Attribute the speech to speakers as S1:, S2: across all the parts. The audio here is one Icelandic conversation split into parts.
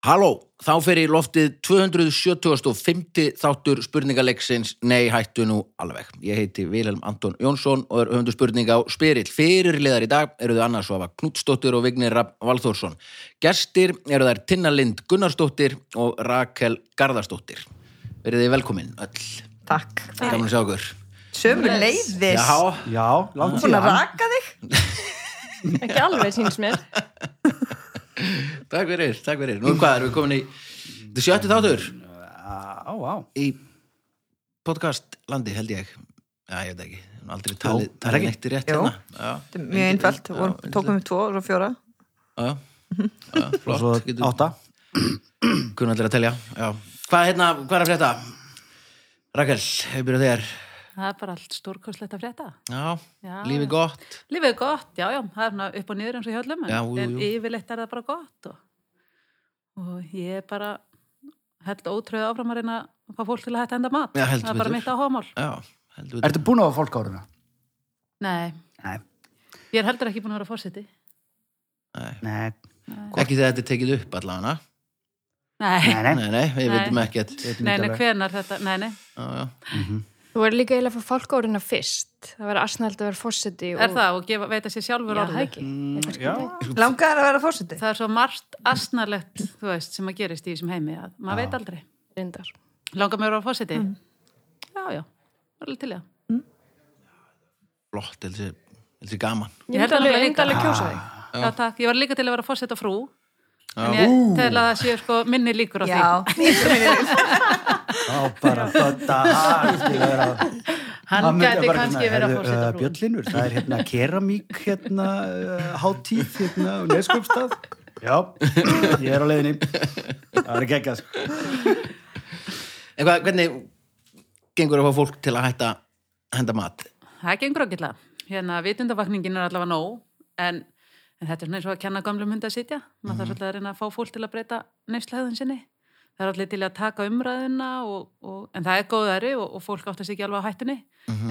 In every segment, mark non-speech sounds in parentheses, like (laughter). S1: Halló, þá fer í loftið 275. þáttur spurningaleiksins Nei, hættu nú alveg. Ég heiti Vilhelm Anton Jónsson og er höfundu spurninga á Spyrill. Fyrirliðar í dag eru þau Anna Svafa Knútsdóttir og Vignir Rapp Valþórsson. Gestir eru þær Tinna Lind Gunnarsdóttir og Rakel Garðarsdóttir. Verið þið velkomin öll.
S2: Takk.
S1: Gaman að sjá okkur.
S2: Sömu leiðis.
S1: Já,
S3: Já, langt
S2: Búin að
S3: síðan.
S2: raka þig?
S4: ekki alveg síns mér
S1: takk fyrir, takk fyrir. Nú hvað, erum við komin í þetta er sjötti þáttur
S3: Á, á.
S1: í podcastlandi held ég. Já, ég veit ekki. Nú Aldrei
S3: er
S1: talið,
S3: það
S1: talið
S3: ekki?
S1: neitt rétt
S2: Jú.
S1: hérna. Já.
S2: Þetta er Mjög einfalt.
S1: Já,
S2: Vorum- Tókum við tvo og svo fjóra.
S1: Já, já. Já,
S3: Og svo
S1: flott, getur
S3: átta.
S1: kunn allir að telja já. Hvað, hérna, hvað er að frétta? Rakel, hefur byrjað þér
S4: það er bara allt stórkostlegt að frétta
S1: Já,
S4: Já.
S1: lífið gott
S4: lífið er gott, já já, það er svona upp og niður eins og hjálpum
S1: Já, jú,
S4: en
S1: jú.
S4: yfirleitt er það bara gott og, og ég er bara held ótröð áfram að reyna að fá fólk til að hætta að henda mat
S1: Já, heldur
S4: það er bara
S1: betur.
S4: mitt áhugamál
S1: Já, heldur við
S3: Ertu búin að hafa fólk áruna?
S4: nei,
S3: Nei.
S4: ég er heldur ekki búin að vera fórsiti
S1: Nei.
S3: Nei,
S1: Ekki þegar þetta er tekið upp allavega
S4: nei, (laughs)
S3: nei, nei.
S1: Nei, nei, við
S4: Nei.
S1: veitum ekkert Já,
S4: nei, nei, hvenar þetta nei, nei,
S1: já,
S5: Þú verður líka eiginlega að fá fálkóruna fyrst. Það verður asnælt að vera fórseti og...
S4: er það og gefa, veita sér sjálfur
S5: Já,
S4: orðið
S5: það ekki. Þetta er
S3: Mm, Já,
S5: skrítið.
S2: Langar að vera fórseti?
S4: það er svo margt asnalegt þú veist, sem að gerist í þessum heimi að maður veit aldrei
S5: Reyndar.
S4: langar mér að vera fórsiti
S5: Mm.
S4: já, já, alveg til í það
S1: flott, heldur þessi- heldur þessi gaman
S4: Ég
S5: Ég
S4: held
S5: held alveg
S4: nefnilega líka.
S5: að alveg kjósa þig.
S1: Ah.
S4: Já, takk. Ég var líka til að vera fórseta frú. En ég tel að það séu sko minni líkur á því.
S2: Já. (laughs)
S3: þá bara þetta hægt til að vera
S4: Hann
S3: Hann myndi
S4: gæti
S3: bara
S4: kannski
S3: svona,
S4: vera
S3: heyrðu,
S4: forseti
S3: uh,
S4: frú.
S3: Bjöllinur, það er hérna keramík hérna uh, hátíð hérna á neskjöpstað Já, ég er á leiðinni Það er ekki ekki að sko
S1: En hvað, hvernig gengur að fá fólk til að hætta að henda mat?
S4: Það gengur ágætlega. Hérna, vitundavakningin er allavega nóg, en, en þetta er svona eins og að kenna gamlum hunda að sitja. Maður þarf svolítið að reyna að fá fólk til að breyta neyslaðun sinni. Það er allir til að taka umræðuna, og, og, en það er góðari og, og fólk átt að ekki alveg á hættunni.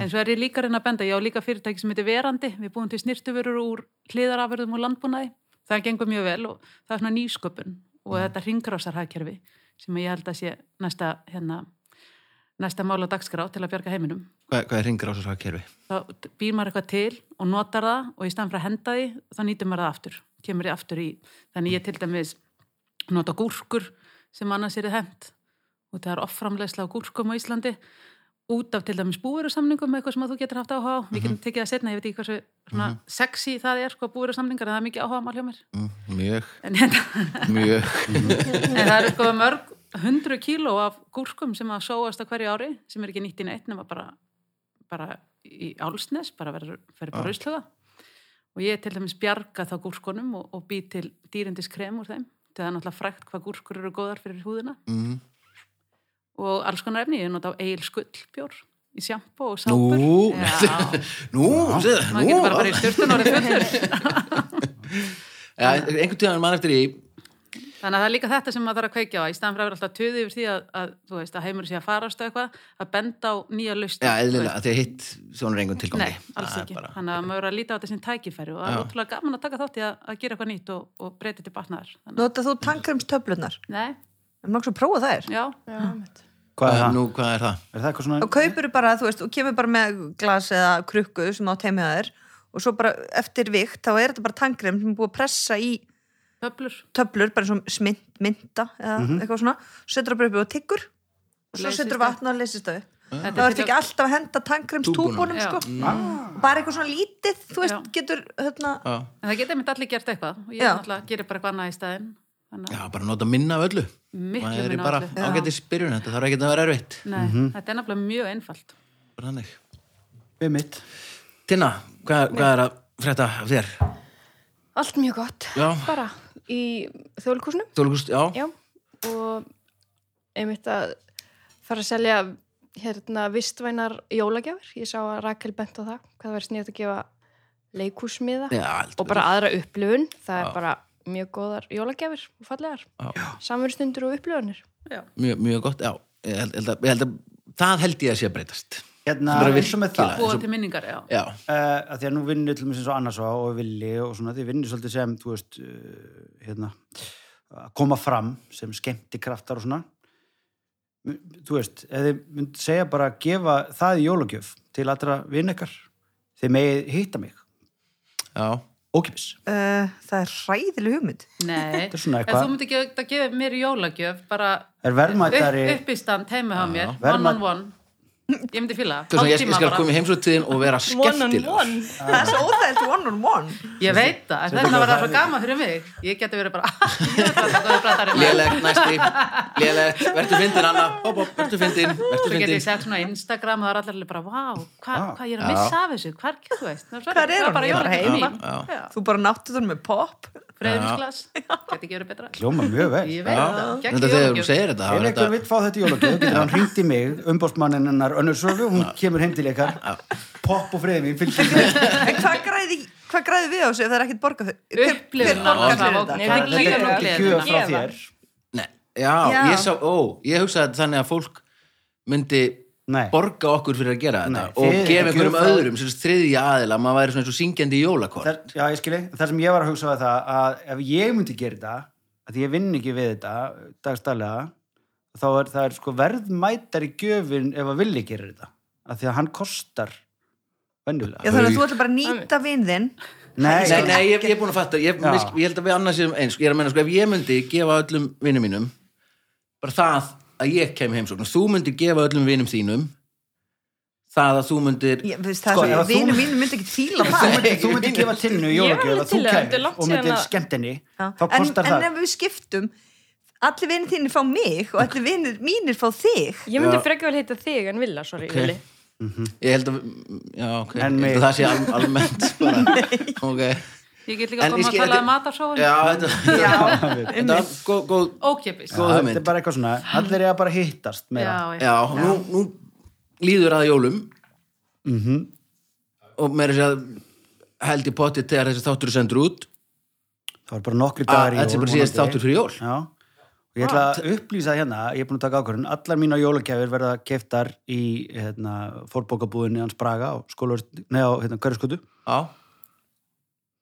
S4: En svo er ég líka að reyna að benda, ég á líka fyrirtæki sem heitir Verandi. Við búum til snirtuvörur úr hliðarafurðum og landbúnaði. Það gengur mjög vel og það er svona nýsköpun og þetta ringrásarhagkerfi sem ég held að sé næsta, hérna, næsta mál á dagskrá til að bjarga heiminum
S1: Hvað, hvað er ringur á þessu hagkerfi?
S4: þá býr maður eitthvað til og notar það og í staðan fyrir að henda því þá nýtir maður það aftur, kemur því aftur í þannig ég til dæmis nota gúrkur sem annars er hend og það er offramlegsla á gúrkum á Íslandi út af til dæmis búverusamningum eitthvað sem að þú getur haft áhuga á við getum tekið það setna, ég veit ekki hversu svona, sexy það er sko búverusamningar en það er mikið áhuga mál hjá mér
S1: Mm, Mjög,
S4: en, hérna, (laughs)
S1: mjög
S4: en það eru sko mörg hundru kíló af gúrkum sem að sóast á hverju ári sem er ekki nýtt í neitt nema bara, bara í álsnes, bara verður fyrir bara ruslaða og ég til dæmis bjarga þá gúrkunum og, og bý til dýrindis krem úr þeim það er náttúrulega frækt hvað gúrkur eru góðar fyrir húðina
S1: mm.
S4: og alls konar efni, ég nota á eigil skullbjór í sjampo og sápur
S1: Nú,
S4: Já,
S1: (laughs) nú, séð,
S4: maður
S1: nú
S4: getur bara bara í styrtun orðið fullur
S1: Já, einhvern tíðan mann eftir í
S4: Þannig að það er líka þetta sem maður þarf að kveikja á í staðan fyrir að vera alltaf töði yfir því að, að þú veist, að heimur sé að farast og eitthvað, að benda á nýja lausn.
S1: Já, eðlilega, því að hitt svona er einhvern tilgangi
S4: Nei, alls
S1: Það er
S4: ekki.
S1: bara-
S4: Þannig að maður verður að líta á þetta sem tækifæri og það
S1: Já.
S4: er ótrúlega gaman að taka þátt í að, að gera eitthvað nýtt og, og breyta til batnaðar. Þannig
S2: Nota þú tankremstöflunar.
S4: að, nei,
S2: Það er nokkuð sem prófa þær.
S4: já,
S5: Já, mitt.
S3: Hvað er það?
S1: Nú, hvað er það?
S3: Er það eitthvað svona
S2: Og kaupur bara, þú veist, og kemur bara með glas eða krukku sem átt heimið þær og svo bara eftir vikt, þá er þetta bara tankrem sem er búið að pressa í
S4: höflur,
S2: töflur, bara eins og smynt, mynda eða
S3: Mhm.
S2: eitthvað svona, svo setur það bara upp og tyggur og svo
S4: Leysist
S2: setur
S4: það.
S2: vatn og leysist það upp.
S4: Þetta
S2: Það
S4: er
S2: verður
S4: til
S2: ekki alltaf að henda tankremstúbunum,
S4: Já.
S2: sko.
S3: Ah,
S2: bara eitthvað svona lítið, þú veist,
S4: Já.
S2: getur hérna,
S1: Já.
S4: en það geta einmitt allir gert eitthvað og ég
S2: Já.
S4: náttúrulega gerir bara eitthvað annað í staðin. Þannig að
S1: Já, bara nota minna af öllu
S4: miklu
S1: Maður er
S4: minna
S1: bara Mhm.
S4: öllu.
S1: ágætið spyrjun þetta þarf ekki að vera erfitt
S4: Nei, þetta er nefnilega mjög einfalt.
S1: Bara þannig.
S3: við mitt
S1: Tinna, hvað, hvað er að frétta af þér?
S5: Allt mjög gott.
S1: Já.
S5: Bara í þjóðlíkúsinu.
S1: Þjóðlugust, já,
S5: Já. Og einmitt að fara að selja hérna vistvænar jólagjafir. Ég sá að Rakel bent á það. Hvað það verður sniðt að gefa leikúsmiða.
S1: já allt
S5: Og bara aðra upplifun. Það
S1: Já.
S5: er bara mjög góðar jólagjafir og fallegar.
S1: já.
S5: Samverðstundur og upplifunir.
S4: Já.
S1: Mjög, mjög gott, já ég held, held að, ég held að, Það held ég að sé að breytast
S3: Hérna,
S1: Bara
S3: eins og með það
S1: virkilega.
S4: Búa til minningar, já.
S1: Já,
S3: uh, að því að nú vinnur til mér eins og annars og villi og svona, því vinnur svolítið sem, þú veist, uh, eh, hérna, að koma fram sem skemmtikraftar og svona M- þú veist, ef þið mynd segja bara að gefa það í jólagjöf til allra vinn ykkar þið megið hitta mig,
S1: já,
S3: ókipis
S2: Uh, það er ræðileg hugmynd.
S4: Nei,
S3: Þetta er svona
S4: ef
S3: eitthvað.
S4: þú myndir gefa, gefa mér í jólagjöf bara
S3: er verðmættari
S4: upp, uppistand heima hjá mér, one
S3: Verðmat-
S4: on one ég myndi fíla,
S1: Þetta er svona, ég, ég
S4: hálftíma
S1: skal
S4: bara.
S1: koma í heimsóttíðin og vera
S3: Ah.
S1: skemmtilegur
S2: Það er svo óþægt one on one.
S4: ég veit það, en
S3: Sérstaklega
S4: þarna var það
S3: það-
S4: svo gaman fyrir mig ég geti verið bara (laughs) ég er bara góður pratari maður.
S1: lélegt, næsti, lélegt verður fyndin Anna, hopp, hopp, verður fyndin verður
S4: svo geti ég
S1: fyndin,
S4: sett svona Instagram og það er allir alveg bara, vá, hvað
S3: Já.
S4: hva ég er að missa af þessu hvar, þú veist, Ná, svo
S2: Hvar er
S4: það
S2: hún?
S4: bara
S2: Ég er bara
S4: jólagjöf
S2: heima.
S4: mín.
S1: Já.
S4: Já.
S2: Þú bara náttu það með pop.
S4: Breiðumsglas, geti ekki verið betra
S3: hljóma mjög vel
S1: já,
S4: ég veit
S1: þetta
S4: það, gegn
S1: þegar hún
S4: jólagjöf
S1: segir þetta þá er
S3: Ef einhver
S1: þetta-
S3: vill fá þetta í jólagjöf, getur hann hringt í mig, umbóstmannin hennar önnur sölu, hún kemur heim til ykkar, popp og freyði mín, fylgjum þetta.
S2: En hvað græði, hvað græði við á þessu ef það er ekkert borgað?
S4: Upplifun
S1: borgar
S4: á-
S1: fyrir
S4: á-
S2: þetta?
S4: á-
S6: Nei,
S4: á-
S6: þetta
S3: Þetta
S6: Líka
S3: er
S6: nú
S3: ekki
S6: gleðin.
S3: gjöf frá
S6: Gefa.
S3: þér.
S1: Nei, já,
S2: Já.
S1: ég sá, ó, ég hugsaði þetta þannig að fólk myndi
S3: Nei.
S1: borga okkur fyrir að gera þetta
S3: Nei,
S1: og
S3: þið-
S1: gefa einhverjum
S3: gjöf frá-
S1: öðrum, sem sagt þriðja aðila, maður væri svona eins og syngjandi í jólakort.
S3: Það, já, ég skilji. Það sem ég var að hugsa var það að ef ég myndi gera þetta, að því ég vinn ekki við þetta dagstælega, þá er það er sko verðmættari gjöfin ef að villi gerir þetta. Af því að hann kostar vennulega.
S2: Já, þannig að þú ætlar bara að nýta vinn þinn.
S3: Nei, sko,
S1: Nei, nei, ég, ég er búin að fatta, ég,
S3: Já.
S1: misk, ég held að við annars séum eins, ég er að menna, sko, ef ég myndi gefa öllum vinnum mínum, bara það að ég kem í heimsókn, og þú myndir gefa öllum vinnum þínum, það að þú myndir,
S2: Ég, veist, það
S3: Sko,
S2: sko,
S3: ef
S2: sem
S3: að þú-
S2: vinnu mín myndi ekki fíla
S3: Þú
S2: það.
S3: myndir, þú myndir gefa tilnu í
S6: Ég er alveg
S3: jólagjöf að þú
S6: til í það, þetta er
S3: kæmir
S6: langt
S3: og
S6: síðan
S3: myndir
S6: að-
S3: skemmt henni,
S2: Já.
S3: þá
S2: En, en
S3: kostar það.
S2: ef við skiptum, allir vinnir þínir fá mig og allir vinnir mínir fá þig.
S6: Ég myndi frekar vel heita þig en Villa, sorry,
S1: Ok.
S6: Vili.
S1: ég held að, já, ok, ég
S3: Mhm. En
S1: held
S3: mig.
S1: að það sé al, almennt,
S3: (laughs)
S1: bara, ok.
S4: ég get líka
S1: En
S4: koma
S1: ég
S4: að
S1: skil-
S4: tala
S1: Já,
S4: um matarsóun
S1: þetta, (laughs) þetta, þetta var góð, góð,
S4: ókipis
S1: Góð
S3: Já,
S1: hugmynd.
S3: Þetta er bara eitthvað svona, allir er að bara hittast meira.
S4: Já,
S1: já, nú, nú líður að jólum
S3: Mhm.
S1: og meira sér að held í potið þegar þessi þáttur er sendur út
S3: Það var bara nokkri
S1: að
S3: dagar í jól.
S1: þetta er bara síðast
S3: vonandi.
S1: þáttur fyrir jól
S3: Já. Og ég ætla að upplýsa hérna, ég er búin að taka ákvörðun, allar mína jólagjafir verða keftar í hérna, fórbókabúðinni hans Braga á skólaur, nei á hérna, Körðskutu.
S1: já,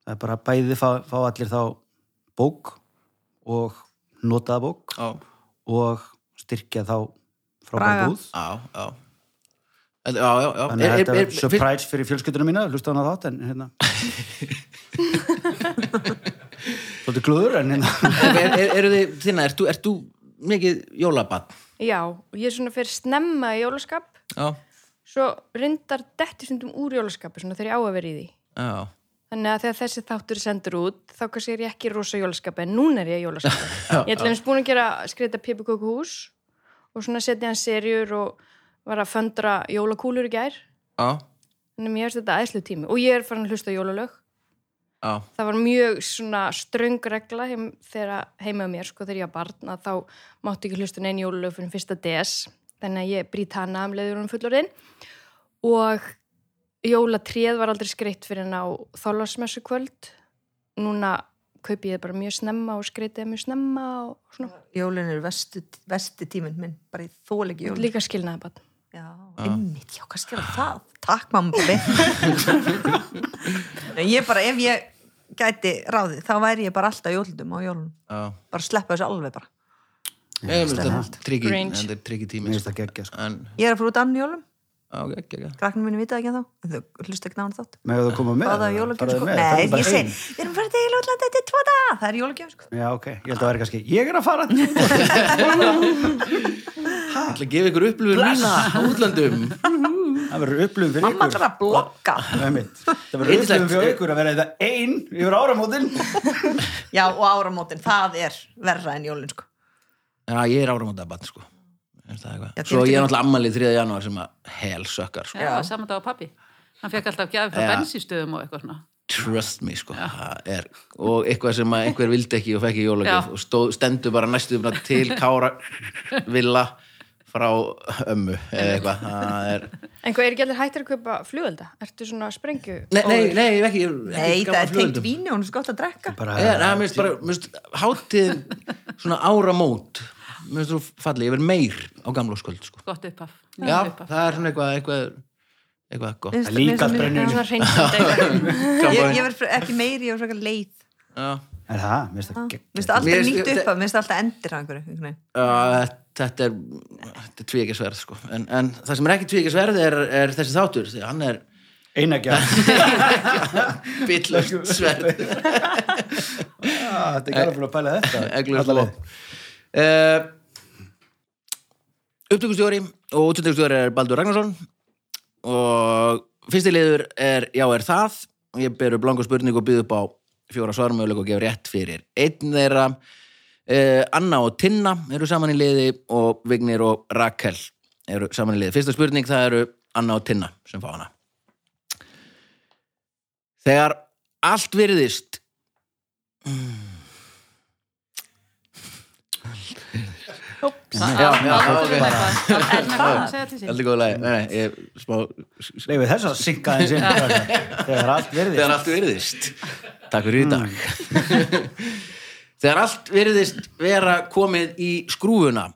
S3: Það er bara bæði fá, fá allir þá bók og notaða bók
S1: já,
S3: og styrkja þá frábæð
S2: Braga.
S3: búð.
S1: já, já Þetta- já, já, já
S3: Þannig að
S1: Er- er-
S3: þetta er
S1: er- (laughs)
S3: surprise fyrir fjölskyldunum mína, hlusta hann á þátt, en hérna... Þóttu glúður, en hérna...
S1: er- er- er- eru þið þina, ert þú, ert þú mikið jólabann?
S5: Já, ég svona fyrir snemma í jólaskap,
S1: Já,
S5: svo rindar detti stundum úr jólaskapi, svona þegar ég á að vera í því.
S1: já,
S5: Þannig að þegar þessi þáttur er sendur út, þá kannski er ég ekki rosa jólaskapi, en núna er ég jólaskapi.
S1: (laughs)
S5: ég ætla eins búin að gera skreita pipikókuhús og svona setja hann serjur og var að föndra jólakúlur í gær.
S1: já,
S5: Þannig að mér finnst þetta aðeinslu tími og ég er farin að hlusta á jólalög.
S1: já
S5: það var mjög svona ströng regla heim, þegar heima á mér, sko, þegar ég var barn að þá mátti ekki hlusta neinn jólulög fyrir fyrsta DS, þannig að ég brýt hana um leiður hún fullorðin og jólatréð var aldrei skreitt fyrir henn á þálasmessu kvöld núna kaupi ég það bara mjög snemma og skreitti það mjög snemma og svona,
S2: Jólin eru vestu, vestu tíminn minn, bara ég þól ekki jólin.
S5: líka skilnaði bara
S2: Já, einmitt, já, hvað skilja það? Takk mamma
S3: (laughs)
S2: pabbi. Nei, ég bara, ef ég gæti ráðið, þá væri ég bara alltaf jólundum á jólunum.
S1: Já,
S2: Bara sleppa þessu alveg bara.
S1: ég finnst
S2: stemmt.
S1: þetta tryggi,
S5: Grinch.
S1: þetta er tryggi tími
S3: Mér finnst það geggja, sko.
S1: En,
S2: Ég er að fara út annan jólum,
S1: já, ok, ekki, ekki
S2: krakknum minni vita ekki en þá, þau hlusta ekki náðan þátt.
S3: Megðu það koma með?
S2: Báða á
S3: eða?
S2: jólagjöf,
S3: Farðu
S2: sko.
S3: með,
S2: Nei,
S3: farðu bara
S2: ég segi,
S3: heim.
S2: við erum farið til Jólanda, þetta er tvo daga. Það er jólagjöf, sko.
S3: Já, ok, ég held að vera kannski, ég er að fara
S2: Ah.
S3: Ég
S1: Ég ætla að gefa ykkur upplifur mína á útlöndum
S2: (laughs)
S3: Það verður upplifum fyrir
S2: Mamma
S3: ykkur
S2: þarf að blokka.
S3: Nei, mitt. Það verður
S1: Yndislegt.
S3: upplifum fyrir ykkur að vera þetta ein yfir áramótin
S2: Já, og áramótin, það er verra en jólin, sko.
S1: Já, ég er áramóta að batna, sko Mér finnst það eitthvað.
S2: Já,
S1: Svo
S2: þér
S1: ég er
S2: finnst-
S1: náttúrulega ammalið 3. janúar sem að hel sökkar, sko.
S4: já, saman dag á pappi hann fekk alltaf gjafi frá
S1: Já.
S4: bensístöðum og eitthvað svona
S1: Trust me, sko. Það Er, og eitthvað sem að einhver vildi ekki og fekk í jólagjöf
S4: Já.
S1: og stóð, stendur bara næstu bara til Kára Villa frá ömmu eða eitthvað. Það Er,
S5: en hvað er ekki allir hættir að kaupa flugölda? Ertu svona sprengju?
S1: nei, nei, nei, ég er ekki. ég er
S2: Nei,
S1: ekki
S2: það
S1: gaman
S2: er tengt
S1: flugeldum.
S2: víni, hún er svo gott að drekka.
S3: Bara,
S1: Já, neða, Eh, mér finnst bara, mér finnst hátíðin svona áramót. Mér finnst þú fallið, ég verð meir á gamla sköld, sko.
S4: gott upphaf
S1: Já, það er svona eitthvað, eitthvað, eitthvað gott.
S2: Mér finnst-
S3: Líka
S2: mér finnst-
S3: brennunni.
S5: Það var reynsandi
S2: Ég, ég verð fre- ekki meiri, ég verð frekar leið.
S1: Já.
S3: Er það? Mér finnst það
S2: Mér
S3: gegn.
S2: finnst
S1: Mér
S2: það alltaf
S1: finnst-
S2: nýtt upp að, mér finnst það alltaf endir á einhverju. einhvern veginn.
S1: Uh, þetta er, þetta er tvíkisverð sko. en, en það sem er ekki tvíkisverð er, er þessi þáttur því að hann er
S3: Einagja.
S1: bitlust sverð
S3: Ah, Þetta er gæla fyrir að pæla þetta.
S1: (laughs) Eglaust
S3: Alla
S1: lop.
S3: leið.
S1: uh, upptökustjóri og útsendingustjóri er Baldur Ragnarsson og fyrsti liður er já er það og ég ber upp langa spurningu og býð upp á fjóra svarmöðuleik og gef rétt fyrir einn þeirra uh, Anna og Tinna eru saman í liði og Vignir og Rakel eru saman í liði fyrsta spurning það eru Anna og Tinna sem fá hana þegar allt virðist já, já, ok.
S4: En hvað að segja til sín?
S1: Heldur góðu lagi, nei, nei, ég smá
S3: Leifið þess að synka aðeins inn. Þegar allt verðist.
S1: Þegar allt virðist Takk fyrir í dag (laughs) Þegar allt virðist vera komið í skrúfuna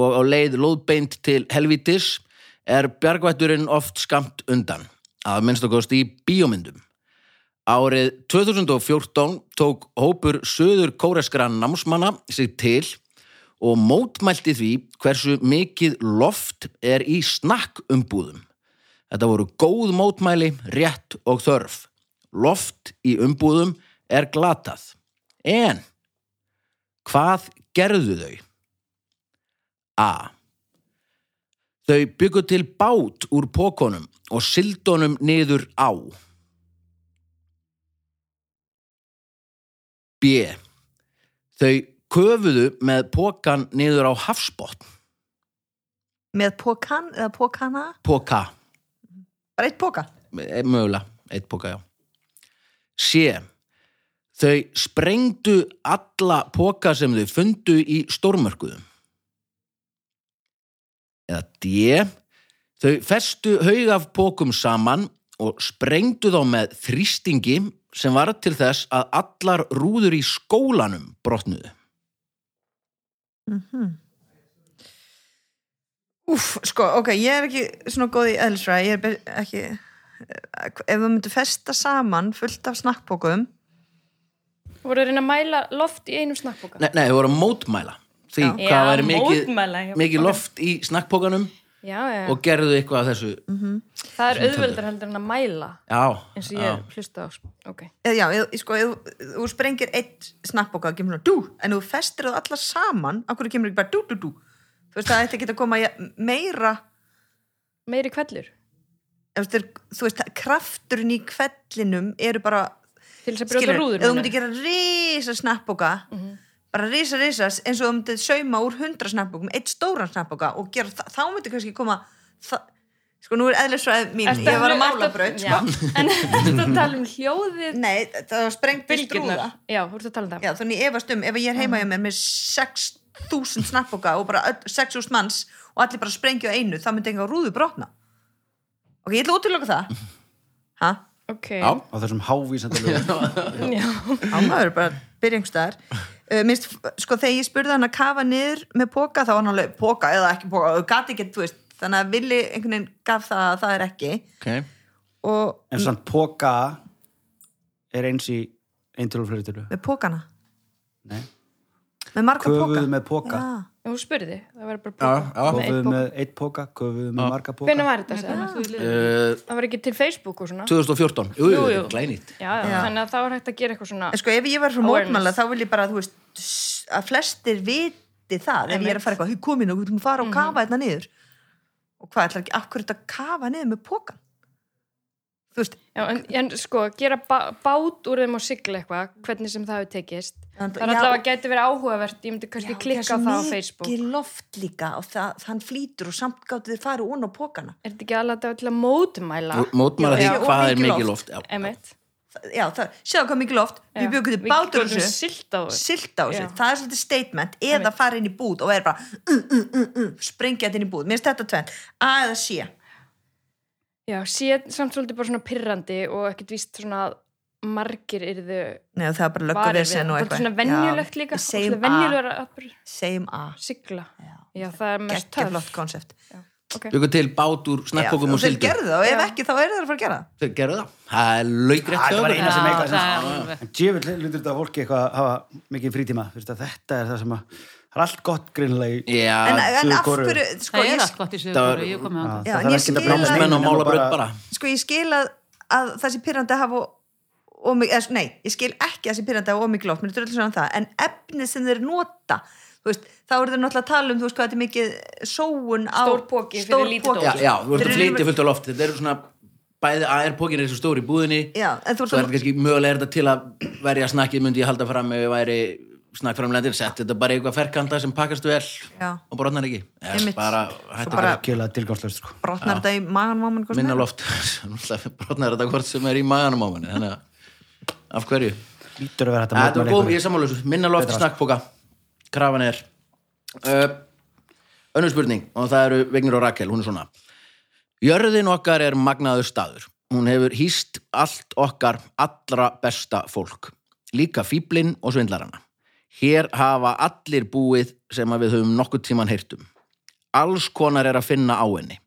S1: og á leið lóðbeint til helvítis er bjargvætturinn oft skamt undan að minnst okkost í bíómyndum Árið 2014 tók hópur söður kóreskra námsmanna sig til og mótmælti því hversu mikið loft er í snakkumbúðum. Þetta voru góð mótmæli, rétt og þörf. Loft í umbúðum er glatað. En, hvað gerðu þau? A. Þau byggu til bát úr pokonum og sildonum niður á. B. Þau köfuðu með pokan niður á hafsbotn.
S2: Með pókan eða pókana,
S1: Poka.
S2: bara eitt póka.
S1: Eh, mögulega, eitt póka, já C þau sprengdu alla póka sem þau fundu í stórmörkuðum eða D þau festu haug af pókum saman og sprengdu þá með þrýstingi sem var til þess að allar rúður í skólanum brotnuðu
S2: Úf, sko, ok, ég er ekki svona góð í eðlisfræði, ég er be- ekki, eh, ef við myndum festa saman fullt af snakkbókum,
S5: voru að reyna að mæla loft í einum snakkboka
S1: Nei, nei, þau voru að mótmæla því
S2: Já.
S1: hvað væri mikið,
S6: mótmæla, já,
S1: mikið
S6: ok.
S1: loft í snakkpókanum
S5: já, já,
S1: og gerðu eitthvað af þessu
S5: það er auðvöldar heldur en að mæla
S1: Já,
S5: eins og ég
S1: já.
S5: er hlusta á sko. ok,
S2: eða já, eð, sko, eð, þú sprengir eitt snakkbóka og kemur svona dú, en þú festir það allar saman, af hverju kemur ekki bara dú, dú, dú. Þú veist, það ætti ekki að koma í meira,
S5: meiri kvellur
S2: ef þú veist, þú veist, krafturinn í kvellinum eru bara,
S5: til þess að brjóta
S2: skilur,
S5: rúður
S2: eða
S5: Mhm.
S2: þú
S5: meinar.
S2: myndir gera risa snakkbóka, bara risa, risa, eins og þú myndir sauma úr hundra snakkbókum, eitt stóran snakkbóka og gera það, þá myndir kannski koma, það, sko, nú er eðlisfræði mín,
S5: Ertu
S2: ég var sko. að
S5: alveg-
S2: mála bröð,
S5: Já, (laughs) en þetta tala um hljóðið
S2: Nei, það sprengdi strúða.
S5: bylgjurnar já, þú ert að tala um það
S2: Já, þannig ég efast um, ef ég er heima hjá mér með 6.000 snappboka og bara öll- 6.000 manns og allir bara sprengja á einu, þá myndi enga rúðu brotna. Ok, ég ætla út til okkur það. Hæ?
S5: ok,
S1: Já.
S3: Á þessum hávísandalögu.
S2: Á maður bara byrja einhvers staðar. Uh, minnst, sko, þegar ég spurði hann að kafa niður með póka, þá var hann alveg póka eða ekki póka, og gati ekki, þú veist, þannig að villi einhvern veginn gaf það að það er ekki.
S1: ok Eh,
S2: Og
S3: En samt póka er eins í einn til og fleiri til.
S2: með pókana,
S3: Nei.
S2: með marga póka.
S3: Köfuðu með póka.
S2: Já,
S5: þú spurði það var bara
S1: Já, já.
S5: bóka Nei,
S3: Köfuðu
S5: bóka.
S3: með eitt póka, köfuðu með marga póka.
S5: hvenær var þetta? sagði hann?
S1: Eh,
S5: það var ekki til Facebook og svona
S1: 2014 Jú, jú,
S5: Jú,
S1: jú.
S5: jú.
S1: glænýtt
S5: já, já, þannig að þá er hægt að gera eitthvað svona
S2: En sko ef ég var frá
S5: Awareness.
S2: mótmæla þá vil ég bara, þú veist, s- að flestir viti það ef ég er að fara eitthvað, hei komin og við erum að
S5: Mhm.
S2: fara og kafa þetta niður. Og hvað ætlar ekki, af hverju þetta kafa niður með pókan? Þú veist,
S5: já, en, en sko, gera bá- bát úr þeim og sigla eitthvað, hvernig sem það hefur tekist
S2: En-
S5: það er
S2: já.
S5: allavega gæti verið áhugavert ég myndi kannski klikka á það á Facebook
S2: mikið loft líka og það, hann flýtur og samt gáttu þið farið ón á pókana.
S5: er þetta ekki allavega til að mótmæla
S1: Mótmæla því
S5: Já, já.
S1: hvað
S2: Og
S1: er
S2: mikið
S1: mikið loft
S2: loft.
S1: já.
S5: Emitt.
S2: Það- Já, það, sjáðu hvað mikið loft,
S5: Já.
S2: við byggum þið
S5: Við
S2: bátur á
S5: gátum
S2: þessu,
S5: siglt á þessu.
S2: silt á þessu,
S5: Já.
S2: það er svolítið statement, eða fara inn í búð og vera bara, uh, uh, uh, uh, sprengja þetta inn í búð, minnst þetta tvennt, A eða C.
S5: Já, sé samt svolítið bara svona pirrandi og ekkert víst svona að margir yrðu
S2: Nei, það er bara
S5: varir við
S2: lögguvesen
S5: það.
S2: og
S5: Þetta
S2: eitthvað.
S5: er svona venjulegt
S2: Já,
S5: líka,
S2: við
S5: svona
S2: Segjum A,
S5: venjulegur að bara
S2: segjum A.
S5: sigla.
S2: Já.
S5: Já, það er mest
S2: Gekkja flott
S5: töff.
S2: konsept.
S5: Já. Ok.
S1: byggur til bát úr snakkókum
S2: Já,
S1: og
S2: þeir
S1: sildu
S2: gerðu það og ef
S5: Já.
S2: ekki þá eru þeir að fara að gera það.
S1: þeir gerðu það, það er laugrætt
S3: Það Ah, var
S4: Já,
S3: eina sem eitthvað sem-
S4: það er alveg.
S3: En djöfull lundur þetta fólki eitthvað að hafa mikið frítíma. Þú veist að þetta er það sem að, það er allt gott greinlega í...
S1: já,
S2: En, eh, en
S3: Suður
S2: af
S3: Kóreu.
S2: hverju, sko,
S4: Það er
S2: ég,
S4: allt gott í
S1: Það var-
S4: sögur og ég komið á
S2: Já,
S3: það
S4: það.
S2: en ég
S3: þarf ekkert að
S2: skil að-
S3: brjóta neinum,
S1: námsmenn og
S3: nema
S1: málabraut bara
S2: sko, ég skil að, að þessi pyrrandi hafa og mig, eða, sko, nei, ég skil ekki að þessi pyrrandi hafa ómikið loft, mér er dröldið svona um það en efnið sem þeir nota þú veist, þá eru þeir náttúrulega að tala um þú veist hvað þetta er mikið sóun á
S6: Stór poki fyrir lítið dót.
S1: já, já, þú ert
S2: Þeir
S1: að
S2: eru-
S1: flytja fullt á loft þetta eru svona, bæði AR-pókin er þessu stóri í búðinni
S2: Já, en þú
S1: svo er
S2: ert
S1: þetta kannski mögulega er þetta til að verja snakkið myndi ég halda fram ef ég væri snakkframlendir, sett þetta bara í eitthvað ferkanta sem pakkast vel
S2: Já.
S1: og brotnar ekki Eða
S2: Einmitt.
S1: bara, hætta
S3: bara
S2: bara-
S3: algjörlega tilgangslöst sko.
S2: brotnar þetta í magan máman
S1: að minna loft (laughs) Náttúrulega brotnar þetta hvort sem er í maganum á manni þannig að, af hverju
S3: Lítur að vera þetta
S1: Þetta
S3: mótmæli
S1: var góð,
S3: einhverju.
S1: ég er sammála þessu. Minna loft í snakkbóka. Krafan er. Uh, önnur spurning, og það eru Vignir og Rakel, hún er svona. Jörðin okkar er magnaður staður. Hún hefur hýst allt okkar allra besta fólk. Líka fíblinn og svindlarana. Hér hafa allir búið sem að við höfum nokkuð tíman heyrtum. um. Alls konar er að finna á henni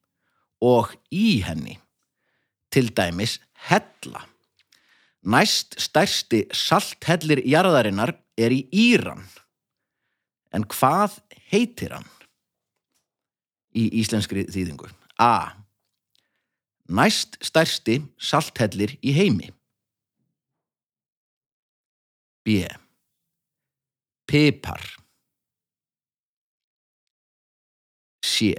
S1: og í henni. Til dæmis hella. Næst stærsti salthellir jarðarinnar er í Íran. En hvað heitir hann? Í íslenskri þýðingu. A. Næst stærsti salthellir í heimi. B. Pipar. C.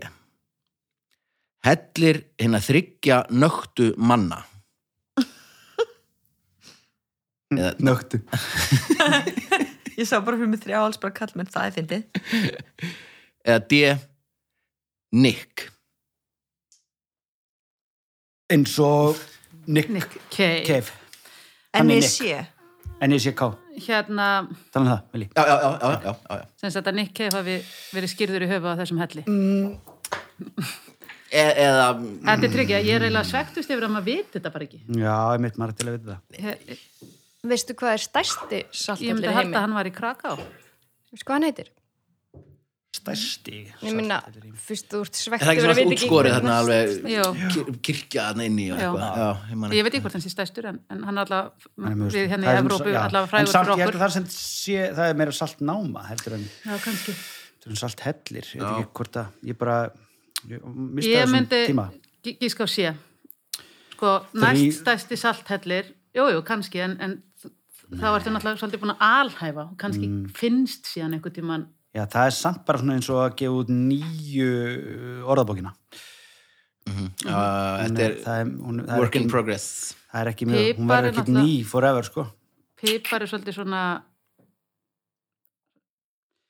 S1: Hellir hinn að þryggja nögtu manna. Eða
S3: Nögtu.
S2: ég sá bara fyrir mig þrjá alls bara kall menn það er fyndið
S1: eða D Nick
S3: Eins og Nick
S4: Nick Cave.
S3: Cave. Hann
S2: en ég
S3: er Nick.
S2: sé,
S3: N-I-C-K.
S4: Hérna,
S3: Þannig um það, Vili.
S1: já, já, já, já, já, já.
S4: sem sagt að Nick Cave hafi verið skýrður í höfu á þessum helli.
S3: Mm.
S1: E eða
S4: Þetta er tryggja, ég er eiginlega svegtust yfir að maður viti þetta bara ekki.
S3: Já, ég mitt maður til að vita það.
S4: Ég,
S5: Veistu hvað er stærsti
S4: ég
S5: salthellir
S4: myndi
S5: í
S4: að halda
S5: heimi?
S4: að hann var í Kraká.
S5: Veistu hvað hann heitir?
S3: Stærsti.
S5: Ég minna, fyrst þú ert svegt
S1: er það ekki svona útskorið þarna
S4: Já.
S1: alveg kir- kirkja þarna inni og
S4: Já.
S1: eitthvað já, ég man
S4: Ég
S1: ekki
S4: veit ekki hvort hann sé stærstur en, en hann
S3: Hann er
S4: er allavega
S3: mjög-
S4: við hérna
S3: það er
S4: í
S3: svona-
S4: Evrópu
S3: já.
S4: allavega
S3: En
S4: frægur
S3: samt,
S4: fyrir
S3: ég held
S4: okkur.
S3: að það, sem sé, það er meira salt náma heldur en,
S4: Já, kannski.
S3: heldur en salt hellir ég veit ekki hvort að ég bara ég misti
S4: Ég
S3: þessum
S4: myndi
S3: tíma
S4: gí- gíska á sé. Sko,
S3: Þrý-
S4: næst stærsti salthellir, jú, jú, kannski, en, en þá ertu náttúrulega svolítið búin að alhæfa og kannski
S3: Mm.
S4: finnst síðan einhvern tímann
S3: Já, það er samt bara svona eins og að gefa út nýju uh, orðabókina
S1: Já, þetta
S3: Nei,
S1: er
S3: það er, hún, það er
S1: work in
S3: ekki,
S1: progress
S3: það er ekki mjög, hún
S4: Pipar er
S3: verður ekki ný
S4: náttúrulega-
S3: forever sko
S4: pipar er svolítið svona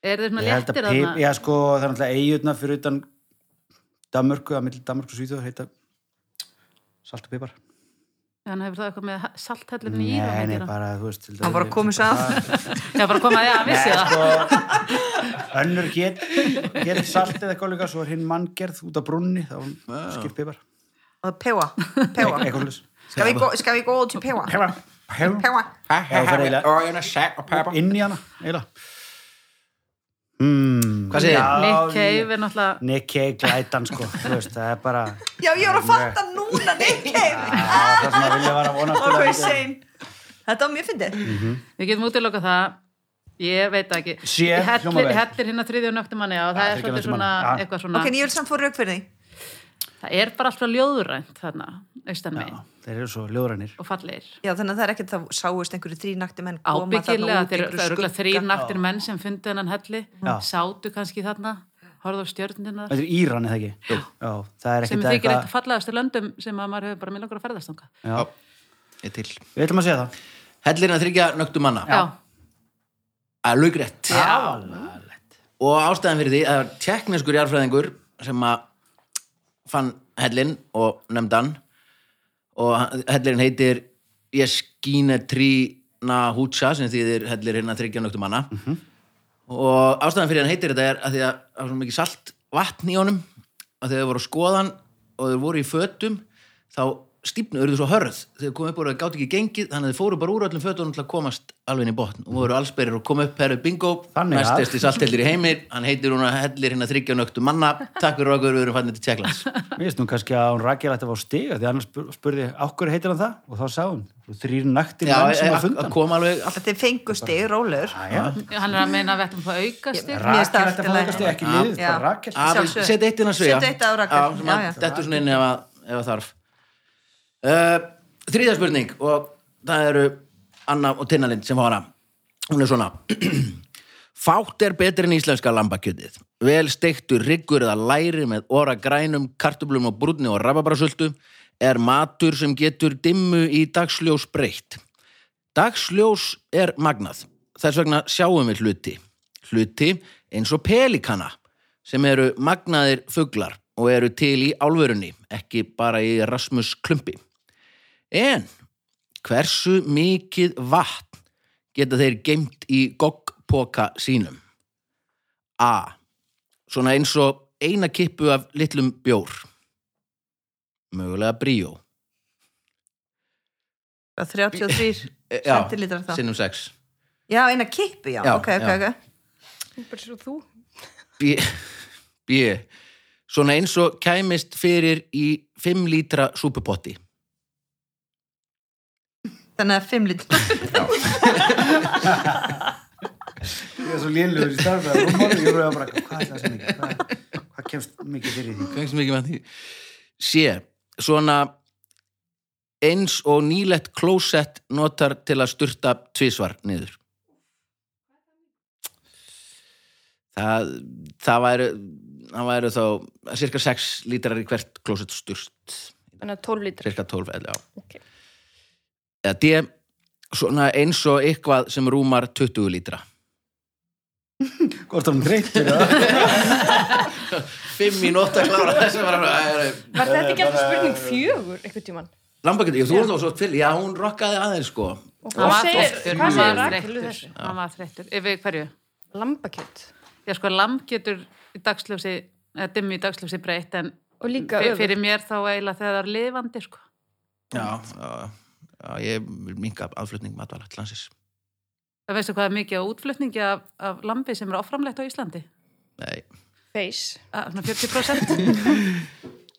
S4: er þeir svona
S3: ég held að
S4: léttir
S3: pip,
S4: þarna
S3: já sko það er náttúrulega eigutna fyrir utan Danmörku, að milli Danmörku og Svíþjóð heita salt og pipar
S4: hann hefur það eitthvað með salthellin í Íran
S3: Nei,
S4: að
S3: nei,
S4: gera.
S3: bara, þú veist til
S2: Hann var að koma
S3: dæmis-
S2: þessu að.
S4: já, bara koma að, já, vissi
S3: Nei,
S4: það
S3: sko, önnur get, get salt eða eitthvað líka, svo er hinn manngerð út af brunni, þá skipt pipar.
S2: og pewa,
S3: Eitthvað
S2: pewa.
S3: eitthvað hlust.
S2: skal við gå- skal við góða til pewa
S3: Pepa.
S2: pewa,
S1: hvað
S3: Inn í hana, eiginlega. Mm,
S1: segir
S3: Já.
S4: Nick Cave er náttúrulega
S3: Nick Cave glætan,
S2: (laughs)
S3: sko, þú veist, það er bara,
S2: já ég var að fatta núna Nick Cave
S3: á, það sem að vilja var að vona
S2: ok,
S3: að
S2: sein þetta var mjög fyndið
S4: við getum útiloka það ég veit það ekki
S3: Sé,
S4: Ég
S3: hljómar
S4: hellir,
S3: vel.
S4: hellir hinn að þriðja nöktum manni og það
S3: Já,
S4: er
S3: þriggja
S4: svolítið
S3: nöktum
S4: svona
S3: manni, já.
S4: eitthvað svona
S2: ok, en ég vil samt fóra rauk fyrir því
S4: það er bara alltaf ljóðrænt þarna austan megin
S3: Þeir eru svo ljóðrænir.
S4: og fallegir
S2: Já, þannig að það er ekkert að sáust einhverju þrínakti menn koma
S4: ábyggilega,
S2: út
S4: þeir
S2: einhverju
S4: eru örgulega
S2: skugga.
S4: þrýr naktir menn sem fundu hennan helli
S3: Já.
S4: sátu kannski þarna horfðu á stjörnina
S3: Þetta er Íran, eða ekki? Jú. Já, það er
S4: sem
S3: ekkert
S4: þykir eitt fallegastu löndum sem að maður hefur bara með langar að ferðast þangað.
S3: Já,
S1: er til
S3: við ætlum að segja það.
S1: hellirinn að þryggja nögtum manna
S4: Já,
S1: að laugrætt
S3: Alvarlegt.
S1: og ástæðan fyrir því að það var tekniskur jarðfræðingur sem að fann hellin og nefndi hann og hann- hellirinn heitir Jeskine Trina Hútsa sem þýðir hellir hérna þryggja nögtum manna
S3: Mhm.
S1: og ástæðan fyrir hann heitir þetta er að því að það var svo mikið salt vatn í honum að þegar þau voru að skoða hann og þau voru í fötum þá stípnu urðu svo hörð þegar komum upp og það gátt ekki gengið þannig að þið fóru bara úr öllum fötunum til að komast alveg inn í botn og voru allsberir og kom upp herru bingo
S3: Þannig að-
S1: næstesti saltellir í heimir hann heitir hún að hellir hérna þryggja nöktu manna takk fyrir okkur, við erum fannir til Tjekklands
S3: Mér finnst nú kannski að hún Rakel ætti að fá stiga því annars spur- spurði okkur heitir hann það og þá sá hún þrýr naktir
S1: Já, eh,
S3: menn sem að
S1: að
S3: funda
S1: að
S3: hann.
S1: koma alveg
S2: Þetta er fengustig, rólur.
S4: Hann er að meina að við ætlum að auka styrk.
S2: Mér finnst allt í
S3: Rakel ætti að fá
S2: lagi.
S3: eitthvað stiga, ekki
S1: Já.
S3: liðið,
S2: Já.
S3: bara Rakel
S2: Ah.
S1: Afi,
S2: Sjálfsögðu.
S1: set eitt inn að svega
S2: Set eitt á Rakel, já, já.
S1: Þetta er svona inn ef, að, ef að þarf uh, Þriðja spurning og það eru Anna og Tinnalind sem fara Hún er svona (clears throat) Fátt er betri en íslenska lambakjötið Vel steiktur riggur eða læri með óra grænum, kartublum og brúnni og rababrasultu er matur sem getur dimmu í dagsljós breytt Dagsljós er magnað. Þess vegna sjáum við hluti. Hluti eins og pelikana sem eru magnaðir fuglar og eru til í álverunni, ekki bara í Rasmus Klumpi. En hversu mikið vatn geta þeir geimt í goggpoka sínum? A. Svona eins og eina kippu af litlum bjór. Mögulega bríó.
S2: Bara 33
S1: E- já,
S2: centilitrar þá.
S1: Sinnum sex.
S2: Já, eina kippu, já.
S1: Já,
S2: ok, ok,
S1: já.
S2: ok.
S5: Bara svo þú.
S1: B, B svona eins og kæmist fyrir í 5 lítra súpupotti
S2: Þannig að 5 litur. (laughs)
S3: Ég er svo lélugur í starfið og hún horfði ég rauði bara hvað er það sem mikið hvað, hvað kemst mikið fyrir því
S1: hvernig sem ekki með því C, svona eins og nýlegt klósett notar til að sturta tvisvar niður það það væru það væru þá cirka 6 lítrar í hvert klósett sturt
S5: Þannig að 12 lítra.
S1: cirka 12 eða já
S5: Ok.
S1: eða D, svona eins og eitthvað sem rúmar 20 lítra
S3: Hvort hann reytur það
S1: fimm mínúti að klára þessu bara,
S5: (laughs) Var þetta ekki alltaf spurning fjögur einhvern tímann?
S1: Lambakjötu, þú voru þá svo til Já, hún rokkaði aðeins sko
S4: Hann
S5: Hvað
S4: var
S5: segir-
S4: þreyttur,
S5: hvað
S4: hann
S5: segir
S4: var
S5: Rakel við
S4: þreyttur,
S5: þessu?
S4: hann var þreyttur. Yfir hverju?
S5: Lambakjöt.
S4: Já, sko, lamb getur í dagsljósi, eða dimmi í dagsljósi breytt, en
S5: Og líka
S4: fyr-
S5: öfur.
S4: fyrir mér þá eiginlega þegar það er lifandi, sko.
S1: Já, já, já ég vil minka aðflutning matvala til landsins
S4: Það veistu hvað er mikið á útflutningi af, af lambi sem er áframlegt á Íslandi?
S1: Nei,
S5: Face.
S4: Að, svona
S1: (laughs)
S4: 40%.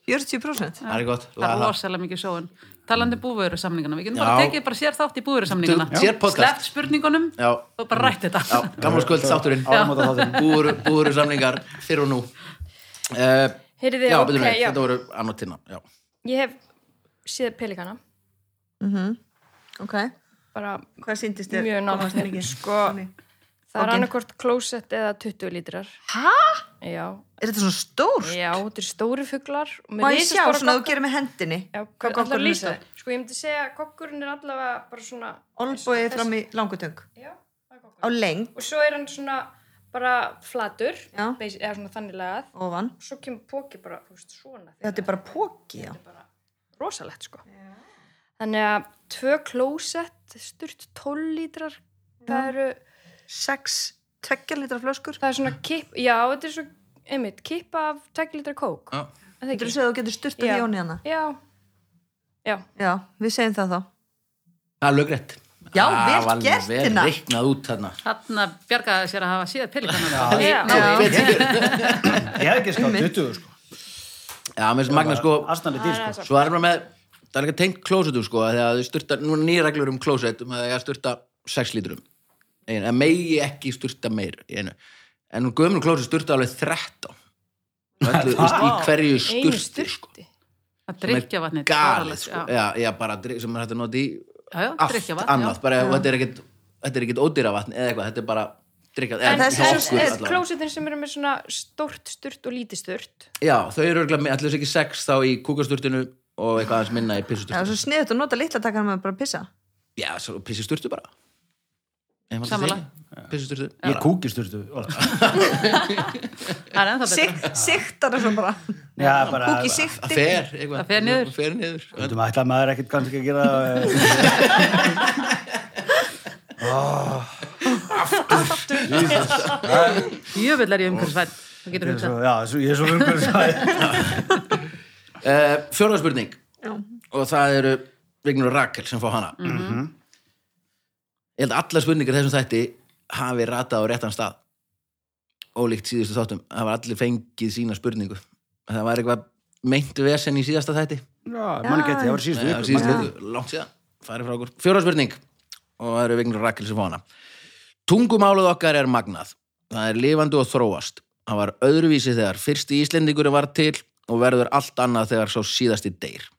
S2: 40%.
S1: það er gott
S4: það er
S1: laga það.
S4: rosalega mikið sjóun. Talandi búvöru samningarna. Við getum
S1: Já.
S4: bara tekið bara sér þátt í búvöru samningarna.
S1: Sér podcast.
S4: Sleppt spurningunum
S1: Já,
S4: og bara rætt þetta.
S1: já, gamla skuld þátturinn
S3: Áramóta þátturinn
S1: Búru, búru samlingar, fyrr og nú uh,
S5: Heyrðu,
S1: Já,
S5: ok,
S1: betur mig,
S5: já.
S1: þetta voru annotina Já,
S5: Ég hef séð pelikana.
S2: Ok.
S5: Bara
S2: Hvað síndist þér?
S5: mjög
S2: Komast þér ekki?
S5: náttúrulega. Sko, það er
S2: Ok.
S5: annarkvort klósett eða 20 lítrar.
S2: Hæ?
S5: Já.
S2: Er þetta svona stór?
S5: Já, þetta er stóri fuglar. og með
S2: Má ég sjá
S5: risastóra
S2: svona að þú
S5: gogga.
S2: gerir með hendinni?
S5: Já,
S2: hvað
S5: allavega
S2: goggur
S5: lýsa.
S2: er?
S5: Sko, ég myndi segja að kokkurinn er allavega bara svona...
S2: Olbóið fram í langutöng.
S5: Já, það er kokkur.
S2: Á lengd.
S5: Og svo er hann svona bara flatur,
S2: Já.
S5: beis, eða svona þannig lagað.
S2: Ofan.
S5: Og svo kemur póki bara, þú veist, svona.
S2: Þetta er bara póki, já.
S5: rosalegt, sko. Þannig að tvö klósett, sturt 12 lítrar, það eru...
S2: Sex tveggjalitrar flöskur.
S5: Það er svona kipp, já, þetta er svo, einmitt, kippa af 2 litra kók.
S1: já.
S5: Er það
S2: Getur
S5: ekki?
S2: þú segið að þú getur styrtað
S5: Já.
S2: í hana?
S5: Já, já,
S2: hérna. Já, við segjum það þá.
S1: Það er lögrétt
S2: Já,
S1: Það
S2: vel
S1: var
S2: gert,
S1: Vel
S2: Tinna.
S1: reiknað út þarna
S4: Þarna bjargaði sér að hafa síðan pelikana.
S5: já.
S2: Já.
S3: Ég hef ekki skátt 20 sko
S1: Já, mér sem magna sko
S3: Asnalið dýr sko
S1: Svo er bara með, það er líka tengt klósetum sko, að þegar þau styrta, nú er nýja reglur um klóset um að það er að styrta 6 lítrum einu, en megi ekki styrta meir í einu, en hún gömur klóset styrta alveg 13 Og öllu, þú veist, í hverju
S5: einu
S1: styrti sko,
S5: styrti.
S4: Að drikja vatni.
S1: galið sko, já, já bara dryk- sem er hægt að nota í
S4: Já, já,
S1: allt
S4: drykkjarvatn, já.
S1: annað, bara og þetta er ekkit þetta er ekkit ódýra vatn eða eitthvað, þetta er bara drikkað,
S5: En
S1: eða
S2: það
S5: þessi
S2: hjá
S1: hjá
S2: er-
S1: okkur
S5: þessi
S1: allavega.
S5: klósetin sem eru með svona stórt sturt og lítið sturt,
S1: Já, þau eru örugglega- allir þess ekki 6 þá í kúkasturtinu og eitthvað aðeins minna í
S2: Já,
S1: pissustyrtinu
S2: svo sniðut að nota litla takkana með bara að pissa.
S1: Já, svo pissi sturtu bara Ef maður
S4: Sammála.
S1: segir. Pissi sturtu
S3: Ég kúki sturtu
S4: Það er ennþá betra.
S2: Sikt- Siktar þessu bara.
S3: Já, bara
S2: Kúki
S1: Það
S2: sikti.
S1: fer, eitthvað
S4: Það fer niður.
S1: fer niður.
S3: Þú veitum að ætla maður ekkert kannski að gera eh, það
S4: Jöfull er ég umhverfisvæn. Það getur
S3: Ég er
S4: hugsað.
S3: svo- Já, svo- ég er svo umhverfisvæði
S1: Uh, Eh, Fjórða spurning
S2: Já.
S1: og það eru Vignur og Rakel sem fá hana
S4: Mhm.
S1: ég held að allar spurningar í þessum þætti hafi ratað á réttan stað ólíkt síðustu þáttum hafa allir fengið sína spurningu það var eitthvað meint vesen í síðasta þætti
S3: mann geti, það var síðustu
S1: Nei,
S3: viku,
S1: síðustu
S3: man ekki.
S1: viku, langt síðan, farið frá okkur fjóra spurning og það eru Vignur og Rakel sem fá hana tungumálið okkar er magnað það er lifandi og þróast það var öðruvísi þegar fyrsti Íslendingur var til og verður allt annað þegar sá síðasti deyr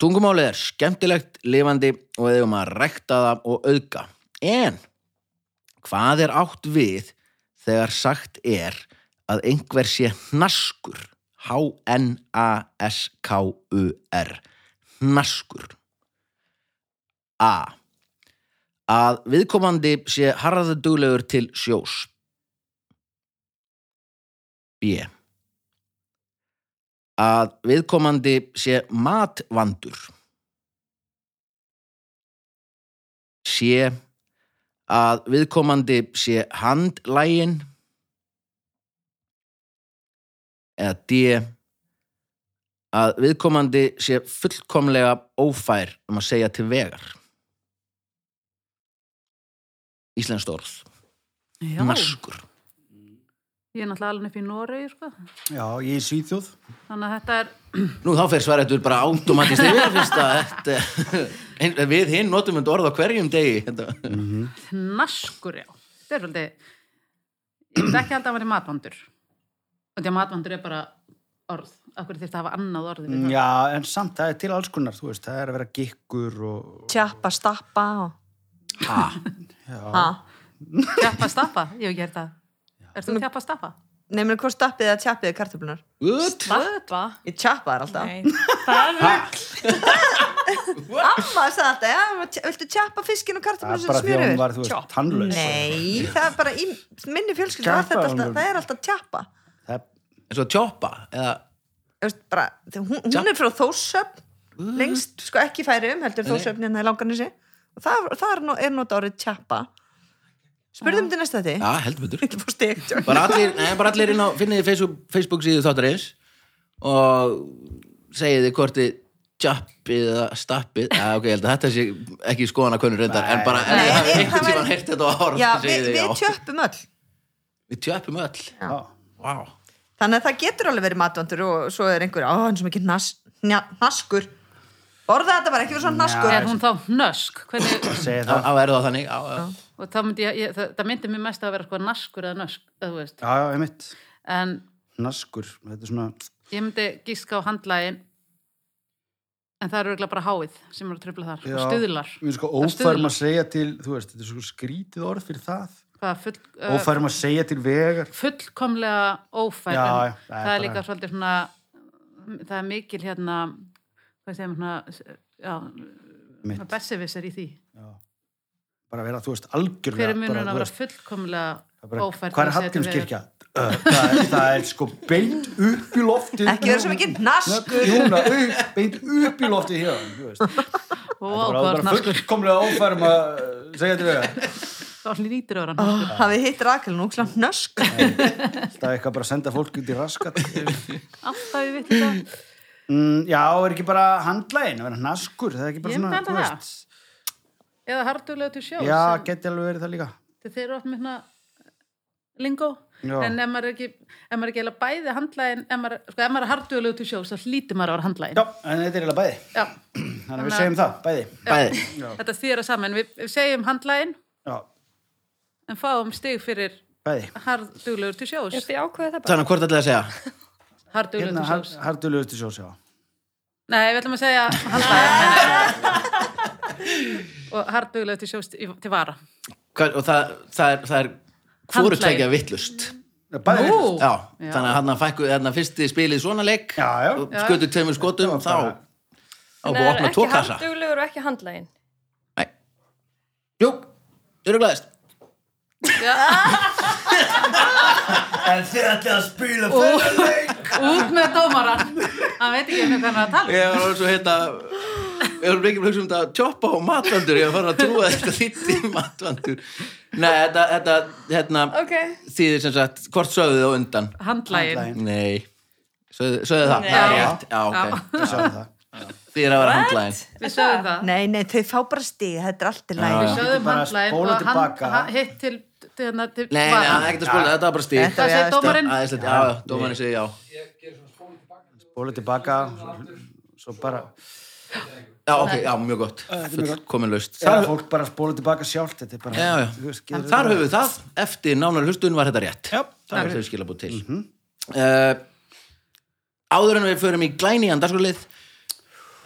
S1: tungumálið er skemmtilegt, lifandi og við eigum að rekta það og auðga en hvað er átt við þegar sagt er að einhver sé hnaskur H-N-A-S-K-U-R hnaskur A að viðkomandi sé harðaduglegur til sjós B að viðkomandi sé matvandur C að viðkomandi sé handlægin eða D að viðkomandi sé fullkomlega ófær um að segja til vegar Íslenskt orð,
S4: Já,
S1: maskur
S4: ég er náttúrulega alveg upp í Noregi, sko.
S3: já, ég er svíþjóð
S4: Þannig að þetta er,
S1: Nú þá fer svaretur bara automatist yfir fyrst að þetta, (laughs) en við hinn notum þetta orð á hverjum degi þetta.
S4: knaskur, já. Þetta er svolítið, ég veit ekki held að vera matvandur. Og því að matvandur er bara orð. Akkur þýrt að hafa annað orð við það.
S3: Mm, já, en samt, það er til alls konar þú veist, það er að vera gikkur og
S2: tjappa, stappa og...
S1: Ha,
S2: (laughs) ha.
S4: Tjappa stappa, ég hef gert það. Er þú tjappa stappa?
S2: nefnir hvort stappið eða tjappið kartöflunar
S1: ut,
S5: Vöðva?
S2: ég tjappa þar alltaf
S6: Nei,
S2: (laughs)
S6: það er
S2: amma sagði alltaf, já, ma- tj- viltu tjappa fiskin og
S3: það
S2: kartöflunar
S3: er
S2: sem
S3: bara því að
S2: smjur
S3: hún
S2: yfir
S3: var, þú veist, tannlaus
S2: nei, það er bara í minni fjölskyldu var
S3: Tjappa,
S2: þetta alltaf,
S3: Álfur.
S2: það er alltaf tjappa
S3: það er
S1: eins og tjópa eða
S2: Ég veist, bara, þ- hún, hún er frá Þórsöfn lengst, sko ekki færi um heldur Þórsöfn hérna í langanessi og það, það er, nú- er nota árið tjappa spurðum til næsta því (laughs)
S1: Já, heldur betur
S2: Ég fór stig, tjók.
S1: bara allir, nei, bara allir inn á finniði Facebook, Facebook síðu þáttarins og segiði hvort þið tjappið eða stappið ja, ok, ég held að þetta sé ekki skoðan að kunnur reyndar en bara,
S2: Nei,
S1: ef það
S2: það
S1: er einhvern
S2: væri-
S1: tímann heyrt þetta á ára
S2: já, við, við tjöppum öll
S1: við tjöppum öll
S3: Já.
S1: wow.
S2: þannig að það getur alveg verið matvandur og svo er einhver, á, hann sem ekki nas, nja, naskur borða þetta bara, ekki verið svona naskur
S4: Er hún þá hnösk? Hvernig,
S1: á,
S3: segja það
S1: á er það þannig á, á.
S4: og þá myndi ég, ég það, það myndi mér mest að vera sko naskur eða nösk, eða þú veist.
S3: já, já, einmitt,
S4: En
S3: naskur þetta er svona,
S4: ég myndi gíska á handlægin, en það eru örugglega bara háið sem eru að tröfla þar,
S3: Já.
S4: og stuðlar.
S3: mér er sko
S4: Það stuðlar.
S3: ófærum að segja til þú veist, þetta er svo skrítið orð fyrir það
S4: Hvað, full, uh,
S3: ófærum að segja til vegar
S4: fullkomlega ófær,
S3: Já,
S4: en
S3: já, það er
S4: það er
S3: bara-
S4: líka svolítið svona, það er mikil hérna, hvað segir maður svona, já,
S3: Mitt.
S4: svona bessevisir í því.
S3: bara vera, þú veist, algjörlega
S4: Hver er munun
S3: bara, þú
S4: að vera
S3: veist, það er
S4: fullkomlega
S3: bara,
S4: ófær?
S3: hvað er Hallgrímskirkja? Uh, það, er- það er sko beint upp í loftið
S2: Ekki vera svo mikið hnaskur.
S3: Júna, upp, beint upp í loftið hér þú veist. það
S4: Ó,
S3: er
S4: hvað
S3: bara,
S4: er
S3: bara
S4: naskur?
S3: fullkomlega ófærum að uh, segja til vegar
S4: Það er lítur að vera
S3: Ah.
S4: naskur.
S2: hafið hittir aðkjölu nú, svona nösk
S3: það er eitthvað bara að senda fólk út í raskat
S4: Alltaf við vittum það.
S3: mm, já, er ekki bara handlægin að vera naskur, það er ekki bara
S4: Ég myndi
S3: svona
S4: halda
S3: þú
S4: það.
S3: veist.
S4: Eða hardulega til sjós.
S3: já,
S4: sem-
S3: geti alveg verið það líka
S4: Þeir þeir eru oft með hérna lingó.
S3: Já.
S4: En ef maður er ekki, ef maður er ekki eiginlega bæði handlægin, ef maður, sko, ef maður er hardulega til sjós, þá hlýtur maður að vera handlægin.
S3: já, en þetta er eiginlega bæði
S4: Já.
S3: þannig að við segjum það, bæði
S1: bæði
S4: Þetta þýra saman. Við, við segjum handlægin,
S3: já,
S4: en fáum stig fyrir
S3: bæði
S4: hardulegur til sjós.
S5: Þið ákveðu það bara.
S1: þannig, hvort ætlaði að segja
S4: Hardulegur
S3: hérna
S4: til sjós.
S3: hardulegustu sjós, já
S4: Nei, við ætlum að segja handlægin.
S3: (laughs)
S4: og hardulegur til sjós til til vara.
S1: Hvað, og það, það er, það er hvoru
S4: Handlagið.
S1: tvekja vittlust
S3: bæði
S4: Nú.
S3: vitlaust.
S1: já, þannig að hann fækku þannig að fyrsti spilið svona leik
S3: já, já,
S1: og skutu tveimur skotum þá
S3: bara-
S1: á búið að opna
S5: ekki
S1: tókassa
S5: handuglegur og ekki handlægin.
S1: Nei. Jú, þau eru glæðist. en þið ætlaði að spila fyrir.
S4: Út með dómaran. Hann veit ekki hvernig hann er að tala.
S1: Ég var alveg svo hérna, ég var mikið hugsa um þetta að tjoppa á matvandur, ég var farin að trúa að þetta þýtti matvandur. Nei, þetta, þetta, hérna,
S5: Ok.
S1: þýðir sem sagt, hvort sögðu þið á undan?
S4: Handlægin.
S3: Handlaginn.
S1: Nei, sögðu, sögðu það, það er rétt, já, ok.
S3: Ég sá um það.
S1: fyrir að vera handlæðin
S4: Við sögum það.
S2: Nei, nei, þau fá bara stig, þetta er allt í
S4: Við
S2: læg.
S4: sögðum
S3: Bara
S4: handlæg
S3: spóla
S4: og hann,
S3: tilbaka.
S4: hann- hitt til, til, hérna, til
S1: Nei, nei, það er ekkert að spóla, þetta var bara stíl
S2: Þetta
S4: Hvað segir
S2: Þetta-
S4: dómarinn?
S1: Aðeins þetta, já, dómarinn segir já
S3: Bóla tilbaka, svo, svo bara...
S1: Já, ok, já, mjög gott, fullkomin laust
S3: Það er fólk bara að spóla tilbaka sjálft, þetta er bara...
S1: Já, já.
S3: Þú veist, gerir-
S1: Þar höfum við það, eftir nánar hlustun var þetta rétt
S3: Já,
S1: Það er
S3: fyrir.
S1: þau skilabúð til uh, Áður en við förum í glæni andarskólið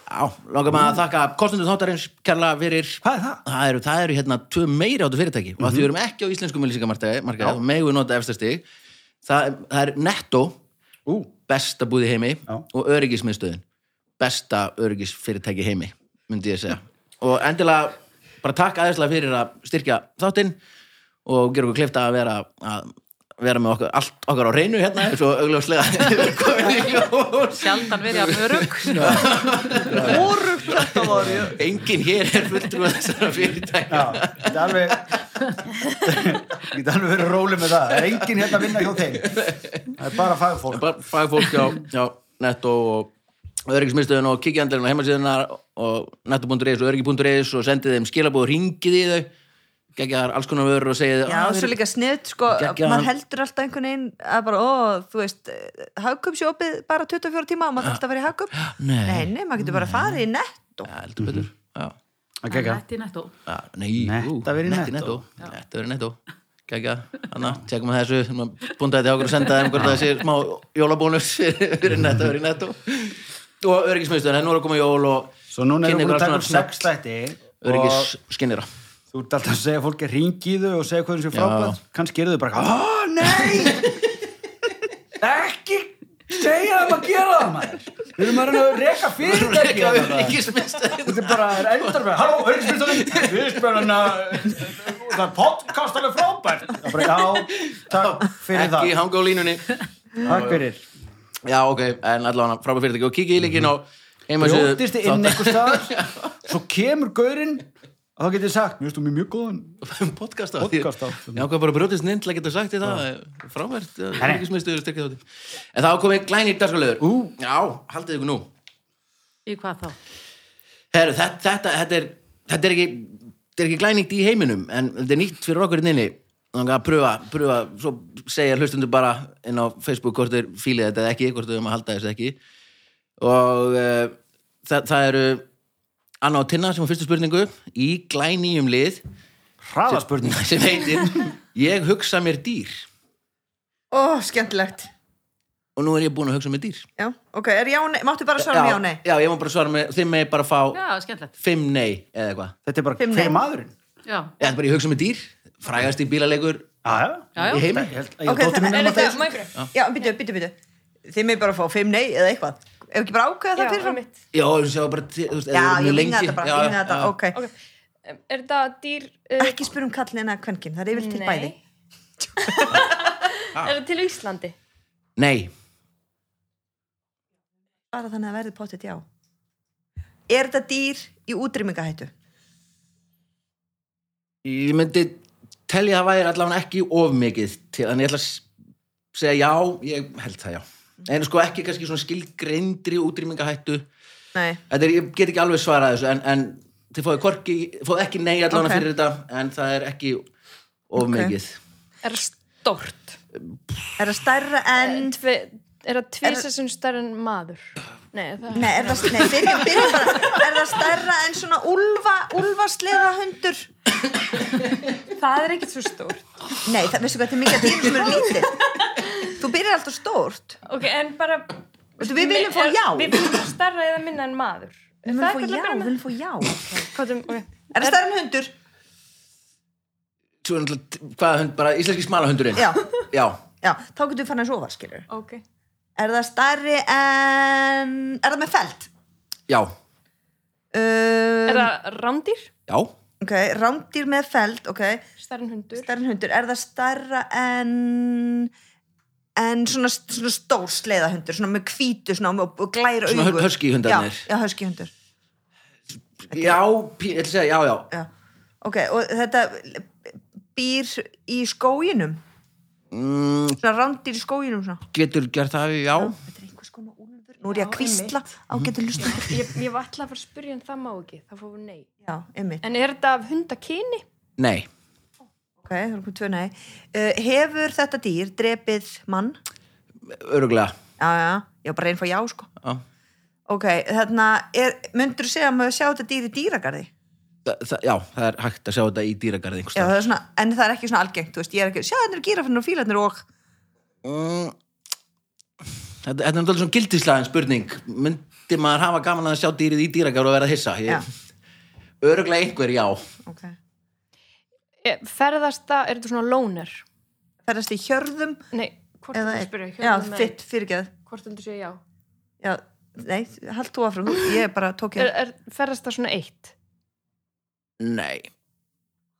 S1: Já, langar maður að þakka kostundum þáttarins kærlega fyrir
S3: Hvað er það? Mhm.
S1: Það eru, það eru hérna tvö meiri áttu fyrirtæki og að því við erum ekki á íslenskum ylýsingamarkaði og megum við nota efstastig það, það er Netto,
S3: Ú,
S1: besta búð í heimi
S3: Já.
S1: og öryggismiðstöðin besta öryggisfyrirtæki í heimi myndi ég segja og endilega bara takk aðeinslega fyrir að styrkja þáttinn og gera okkur klifta að vera að vera með okkur, allt okkar á reynu hérna eins og augljóslega (laughs) komið í ljós
S4: Sjaldan verið af örug.
S2: Órugt þetta voru. jú.
S1: enginn hér er fulltrúið þessara fyrirtækja
S3: já, þetta er alveg... Ég get alveg verið róli með það. Það er enginn hérna að vinna hjá þeim. Það er bara fagfólk.
S1: bara fagfólk á, á netto og öryggismiðstöðun og kikið andlega á heimasíðuna og netto.is og öryggi.is og sendið þeim skilabóð og ringið í þau geggjaðar alls konar vörur og segið
S2: Já,
S1: "Ah,
S2: svo
S1: þeir-
S2: líka sniðt, sko,
S1: Geggjaðan-
S2: maður heldur alltaf einhvern veginn að bara, ó, þú veist, hagköpsjópið bara 24 tíma og maður þarf alltaf að fara í hagköp.
S1: Nei.
S2: Nei, nei, maður getur bara farið í netto.
S1: Já, heldur betur Já.
S3: Það gekk að.
S4: Þetta er nettó.
S1: Já, Nei,
S3: Nett
S1: ú,
S3: að vera í
S1: nett í
S3: Netto.
S1: Nett að vera í netto Gægja, Anna, tjekkum að þessu Búnda þetta hjá okkur að senda þeim hvort það sé smá jólabónus (laughs) fyrir nett að vera í netto og öryggismiðstöðun, nú er að koma jól og
S3: Svo núna erum
S1: kynna
S3: við búin
S1: ykkur
S3: að taka
S1: alls
S3: upp
S1: konar
S3: sex þætti og
S1: öryggisskinnira
S3: þú ert alltaf að segja fólki að ringi í þau og segja hvað þau séu frábært.
S1: Já.
S3: Kannski eru þau bara, ó, nei! Ekki segja þeim að gera það, maður! Við erum að reyna að reka fyrirtæki
S1: Ekki að
S3: hérna.
S1: öryggismiðstöðun
S3: Þetta er bara er endar með, halló, öryggismyndstöðin, viðspjörnuna, það er podcast alveg frábært. Það er bara, já, takk fyrir það.
S1: Ekki hanga á línunni
S3: Takk fyrir.
S1: Já, ok, en allavega frábæð fyrirtæki og kikið í líkin á heimasíðu
S3: Brjóttist Mhm. þið inn einhver staðar, svo kemur gaurinn og þá getið sagt, mjög stúmið mjög góðan.
S1: (laughs) um podcast á því
S3: Podcast á.
S1: Já, hvað bara brjótist ninn til að geta sagt því það frávært,
S3: nei.
S1: öryggismiðstöður styrkja þátti En þá komið glænir dagskáleður
S3: Ú.
S1: Já, haldið ykkur nú
S4: Í hvað þá?
S1: Heru, þetta, þetta, þetta, er, þetta er ekki þetta er ekki glænýtt í heiminum en þetta er nýtt fyrir okkur hérna inni þannig að pröfa, pröfa, svo segja hlustundur bara inn á Facebook hvort þeir fílið þetta eða ekki, hvort þau um að halda þessu ekki og uh, það, það eru Anna og Tinna sem var fyrstu spurningu í glænýjum lið
S3: Hraða spurning.
S1: sem heitir Ég hugsa mér dýr
S2: Ó, skemmtilegt.
S1: og nú er ég búin að hugsa mér dýr
S2: Já, ok, er já, nei, máttu bara svara með já, nei?
S1: já, ég má bara svara með, þið með bara fá
S4: Já, skemmtilegt.
S1: fimm nei eða eitthvað
S3: Þetta er bara,
S2: Fimm
S3: hver
S2: nei.
S3: er maðurinn?
S4: Já.
S1: Ég ætla bara ég hugsa mér dýr, frægast í bílaleikur
S3: Já, já.
S4: Já,
S1: í
S4: já.
S1: heimi
S3: Ég held að ég
S2: Ok,
S3: dótti
S2: það-
S3: mín
S2: er
S3: um að það.
S2: þetta-
S6: mægri.
S2: Já, býtu, býtu, býtu. Þið með bara fá fimm nei eða eitthvað. Ef ekki bara ákveða
S6: Já,
S2: það fyrir
S6: einmitt.
S1: Já, þú séu bara til, þú veist,
S2: Já,
S1: eða við erum
S2: ég
S1: mjög
S2: vinna
S1: lengi.
S2: þetta bara,
S1: Já,
S2: vinna þetta,
S1: já.
S2: ok.
S6: Ok. Um, Er þetta dýr... Uh,
S2: Ekki spyrum kallin eða kvenkin, það er yfir til
S6: nei.
S2: bæði.
S1: (laughs)
S6: er þetta til á Íslandi?
S1: Nei,
S2: Bara þannig að verði pottet já. Er þetta dýr í útrýmingahættu?
S1: ég myndi telja að það væri allavega ekki of mikið til, en ég ætla að s- segja já, ég held það já. En sko ekki kannski svona skilgreindri útrýmingahættu.
S2: Nei.
S1: Þetta er, ég get ekki alveg svarað þessu, en, en þið fóðu korki, fóðu ekki nei allavega
S2: Ok.
S1: fyrir þetta, en það er ekki of
S2: Ok.
S1: mikið.
S6: Er það stort?
S2: Er það stærra en...
S6: Tve, er það tvisa sem stærri en maður? Nei, er það...
S2: Nei, er það, nei, byrja, byrja bara, er það stærra en svona úlfa, úlfasleða hundur?
S6: Það er ekkert svo stórt.
S2: Nei, það, veistu hvað, þetta er mikið að dýrum sem eru lítið. Þú byrjar alltaf stórt.
S6: Ok, en bara...
S2: Veistu, við viljum fá
S6: Er-
S2: já.
S6: Við viljum fá stærra eða minna en maður. Er
S2: Við
S6: það
S2: viljum fá
S6: eitthvað
S2: já,
S6: að byrja
S2: við
S6: með?
S2: viljum fá já.
S6: Kvotum, ok.
S2: Er það stærra en hundur?
S1: Svo er náttúrulega, hvaða hund, bara íslenski smalahundurinn.
S2: Já.
S1: Já,
S2: Já, þá getur við fann að sofa, skilur.
S6: Ok.
S2: Er það stærri en... Er það með felt?
S1: já,
S2: Um,
S6: Er það rándýr?
S1: já.
S2: Ok, rándýr með felt, ok.
S6: Stærri en hundur?
S2: Stærri en hundur. Er það stærra en... En svona, svona stór sleiðahundur, svona með hvítu, svona með, og glæra
S1: Svona
S2: augu.
S1: hu- huskyhundarnir.
S2: Já, já husky hundur.
S1: Já, pí, ég ætla að segja, já, já.
S2: Já. Ok, og þetta býr í skóginum?
S1: Mm,
S2: Svona rándýr í skóginum svona?
S1: getur gert það, já.
S2: Þetta er einhvers konar úlfur. nú er ég að
S6: Já,
S2: kvísla á getur hlusta
S6: Ég, ég var alltaf að fara að spyrja en það má ekki, það fór nei.
S2: já, einmitt,
S6: En er þetta af hundakyni?
S1: Nei,
S2: ok, það er komið tvö nei uh, hefur þetta dýr drepið mann
S1: öruglega
S2: já, já, ég var bara að reyna að fá já sko
S1: Já.
S2: ok, þarna, myndur þú segja að maður sjá þetta dýr í dýragarði
S1: Þa, það, já, það er hægt að sjá þetta í dýragarði
S2: já,
S1: einhverstað.
S2: það er svona, en það er ekki svona algengt þú veist, ég er ekki, sjá þetta er gírafinnur og fílarnir og
S1: Mm, þetta, þetta er náttúrulega svona gildislaðin spurning. Myndi maður hafa gaman að sjá dýrið í dýragarði og verða hissa?
S2: Já.
S1: Ég, öruglega einhver, já.
S2: ok,
S6: E, Ferðast það, er þetta svona lóner?
S2: ferðast í hjörðum
S6: Nei, hvort
S2: eða
S6: þetta
S2: einn.
S6: spyrja?
S2: já,
S6: hjörðum eða-
S2: fitt, fyrirgeð
S6: Hvort þetta sé já?
S2: já, nei, hald þú afram ég bara tók
S6: Er,
S2: ég
S6: er, ferðast það svona eitt?
S1: Nei.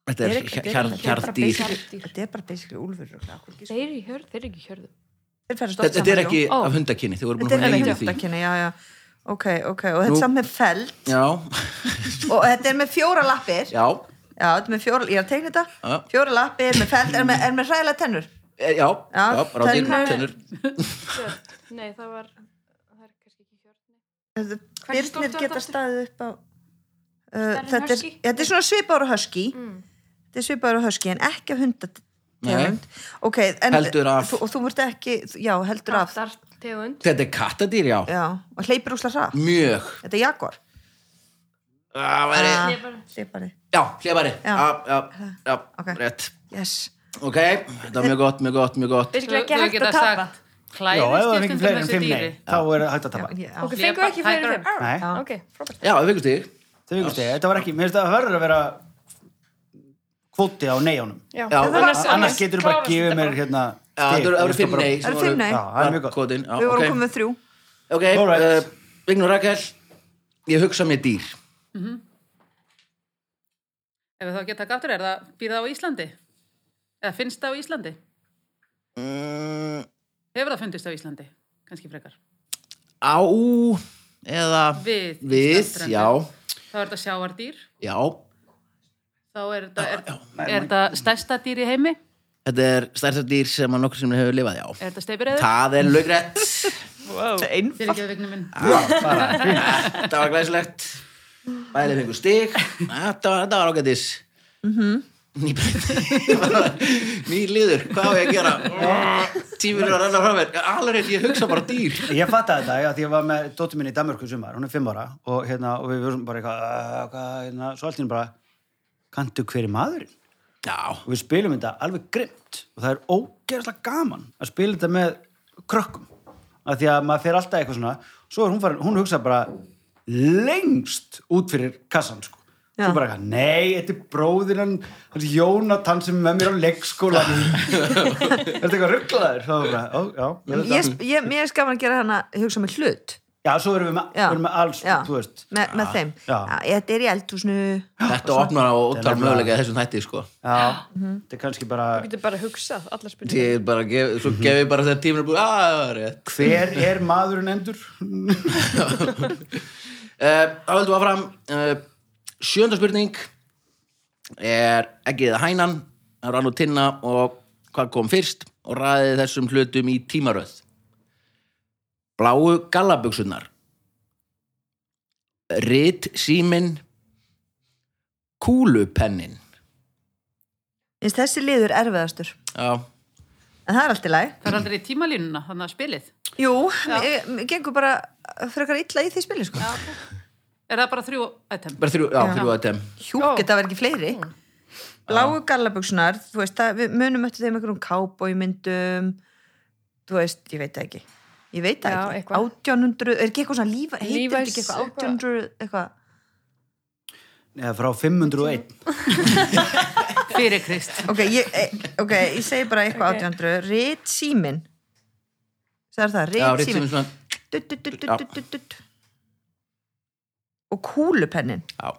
S1: Þetta er
S2: Ég er ekki-
S1: hjar-
S2: þetta er bara
S1: hjarðdýr.
S2: þetta er bara basically úlfur örugglega, akkur ekki, sko.
S6: Þeir eru í hjörð, þeir eru ekki í hjörðu.
S2: Þeir ferðast oft
S1: Þetta, þetta er
S2: saman,
S1: ekki
S6: Ó.
S1: af hundakinni, þið voru
S2: Þetta
S1: búin að
S2: er með
S1: hengja því.
S2: hjartakynni, já, já. Ok, ok, og þetta
S1: Nú-
S2: er samt með feld
S1: Já,
S2: og þetta er með fjóra lappir. Já,
S1: já,
S2: þetta er með fjóra, ég er að tegna þetta.
S1: Já.
S2: Fjóra lappir, með feld, er með, er með hræðilega tennur.
S1: e- já, já,
S2: Já,
S1: ráðir, tennur.
S2: tennur.
S6: Nei, það var, það er kannski ekki hjörð.
S2: Þetta-
S6: Hvernig stórt er
S2: Birnir
S6: þetta
S2: geta
S6: aftur?
S2: staðið upp á... Uh,
S6: Stærri en
S2: þetta, er,
S6: husky? Mm.
S2: þetta er svona svipára höski þetta er svipára höski en ekki af hundategund ok, en
S1: Heldur af.
S2: þú, og þú vart ekki, já, heldur af
S6: Rattar, tegund.
S1: Þetta er kattadýr, já.
S2: já, og hleypir úsla
S3: Mm.
S2: hrað
S1: Mjög.
S2: þetta er Jaguar
S1: Það væri,
S2: Ah,
S6: Hleypari.
S2: hleypari,
S1: já, hlébari.
S2: Já.
S1: Já, já, já,
S2: Ok.
S1: rétt.
S2: yes
S1: Ok, þetta var mjög gott, mjög gott, mjög gott.
S6: Virkilega
S4: Þú-
S6: ekki
S4: þú
S6: hægt
S4: geta
S6: að tapa.
S4: sagt,
S3: Já, ef það
S4: Klæðist ég
S3: er ekki
S4: stundum
S3: fleiri en
S4: þessu
S3: fimm nei,
S4: dýri.
S3: þá er hægt að
S2: já,
S3: tapa.
S2: já.
S6: Ok, fengu ekki fleiri
S4: Tiger.
S6: fimm. Arr.
S3: Nei,
S6: Ok, frábært.
S1: Já, við fengum stig.
S3: þau veist ég, þetta var ekki, mér finnst það hörður að vera kvóti á neionum.
S6: Já,
S1: Já,
S6: annars-
S1: annars-
S6: annars
S3: Annars getur þú bara
S6: klárast
S3: að gefa
S6: þetta
S3: mér
S6: bara.
S3: hérna
S1: Já, það eru- það eru fimm nei.
S2: Það
S1: sem
S2: eru
S1: voru-
S2: fimm nei.
S3: Já, það er mjög gott.
S1: Kodinn, já,
S2: við vorum
S1: ok.
S2: komið með þrjú
S1: Ok,
S3: Alright.
S1: uh, Vignur Rakel Ég hugsa mér dýr
S4: Ef við þá geta gaftur, er það, býr það á Íslandi? Eða finnst það á Íslandi?
S1: mm,
S4: Hefur það fundist á Íslandi? Kanski frekar.
S1: Á Eða
S4: Við
S1: Við,
S4: Íslandsstrendur.
S1: já,
S4: Þá er þetta sjáardýr.
S1: já
S4: Þá er þetta, er, er þetta stærsta dýr í heimi?
S1: Þetta er stærsta dýr sem að nokkur sem hefur lifað, já
S2: Eh.
S4: Er þetta steipiræður?
S1: Það er laugrætt
S4: Fyrir ekki að vignu minn.
S1: Þetta var glæslegt Bæðið fengur stig Þetta var, þetta var ágætis
S2: Mhm.
S1: mm (laughs) -hmm. Ný liður, hvað á ég að
S2: Eh.
S1: gera? Tíminu að renna frá mér Alveg, ég hugsa bara dýr
S3: Ég fattaði þetta, já, því ég var með dóttur minni í Danmörku í sumar, hún er fimm ára og hérna, og við vorum bara eitthvað, "Ah, hvað, hérna, svo allt í einu bara, kanntu hver er maðurinn?
S1: Já,
S3: Og við spilum þetta alveg grimt og það er ógeðslega gaman að spila þetta með krökkum. Af því að maður fer alltaf eitthvað svona, svo er hún farin, hún hugsa bara lengst út fyrir kassan, sko.
S2: Já.
S3: Svo bara eitthvað, nei, þetta er bróðinan, þessi Jónatan sem er með mér á leikskóla. Þetta eitthvað rugglaður, þá er bara, ó, já. ég veit
S2: ég,
S3: það."
S2: ég, mér er skafan að gera hana hugsa með hlut
S3: Já, svo erum við með,
S2: Já.
S3: erum með alls,
S2: Já.
S3: þú veist.
S2: með, með þeim
S3: Já.
S2: Já, þetta er í eldhúsnu
S1: þetta opnar á ótal
S3: nefnilega-
S1: mögulega þessum hætti, sko
S3: Já,
S2: Mhm.
S3: þetta er kannski bara,
S6: Þú getur bara hugsað, allar spurningar.
S1: ég bara gef, svo gef ég bara þegar tíminu er búið að það var rétt
S3: hver er maðurinn endur? (laughs)
S1: Eh, þá höldum við áfram uh, sjönda spurning er eggið eða hænan það eru alveg tinna og hvað kom fyrst og ræðið þessum hlutum í tímaröð bláu gallabugsunar rit símin kúlupennin
S2: Finnst þessi liður erfiðastur
S1: já,
S2: en það er allt í lagi
S4: Það er aldrei í tímalínuna, þannig að spilið.
S2: Jú, mér- mér gengur bara frekar illa í því spili sko.
S4: Er það bara þrjú item?
S1: bara þrjú, já,
S2: Já.
S1: þrjú að tem
S2: Hjúk, þetta verður ekki fleiri Lágu gallabugsunar, þú veist það, við munum eftir þeim einhverjum kábóimyndum þú veist, ég veit það ekki ég veit það
S6: Já,
S2: ekki,
S6: eitthvað.
S2: 1800 er ekki eitthvað svona lífa, heitir þetta
S6: Levi's,
S2: ekki eitthvað 1800 eitthvað,
S3: Eða frá 501.
S4: Fyrir Krist.
S2: ok, ég, eh, okay, ég segi bara eitthvað 1800, Rit Símin sagði það,
S1: já,
S2: Rit
S1: rit símin
S2: Símin
S1: svona
S2: Dutt, dutt, dutt, dutt, dutt, dutt. og kúlupennin
S1: já,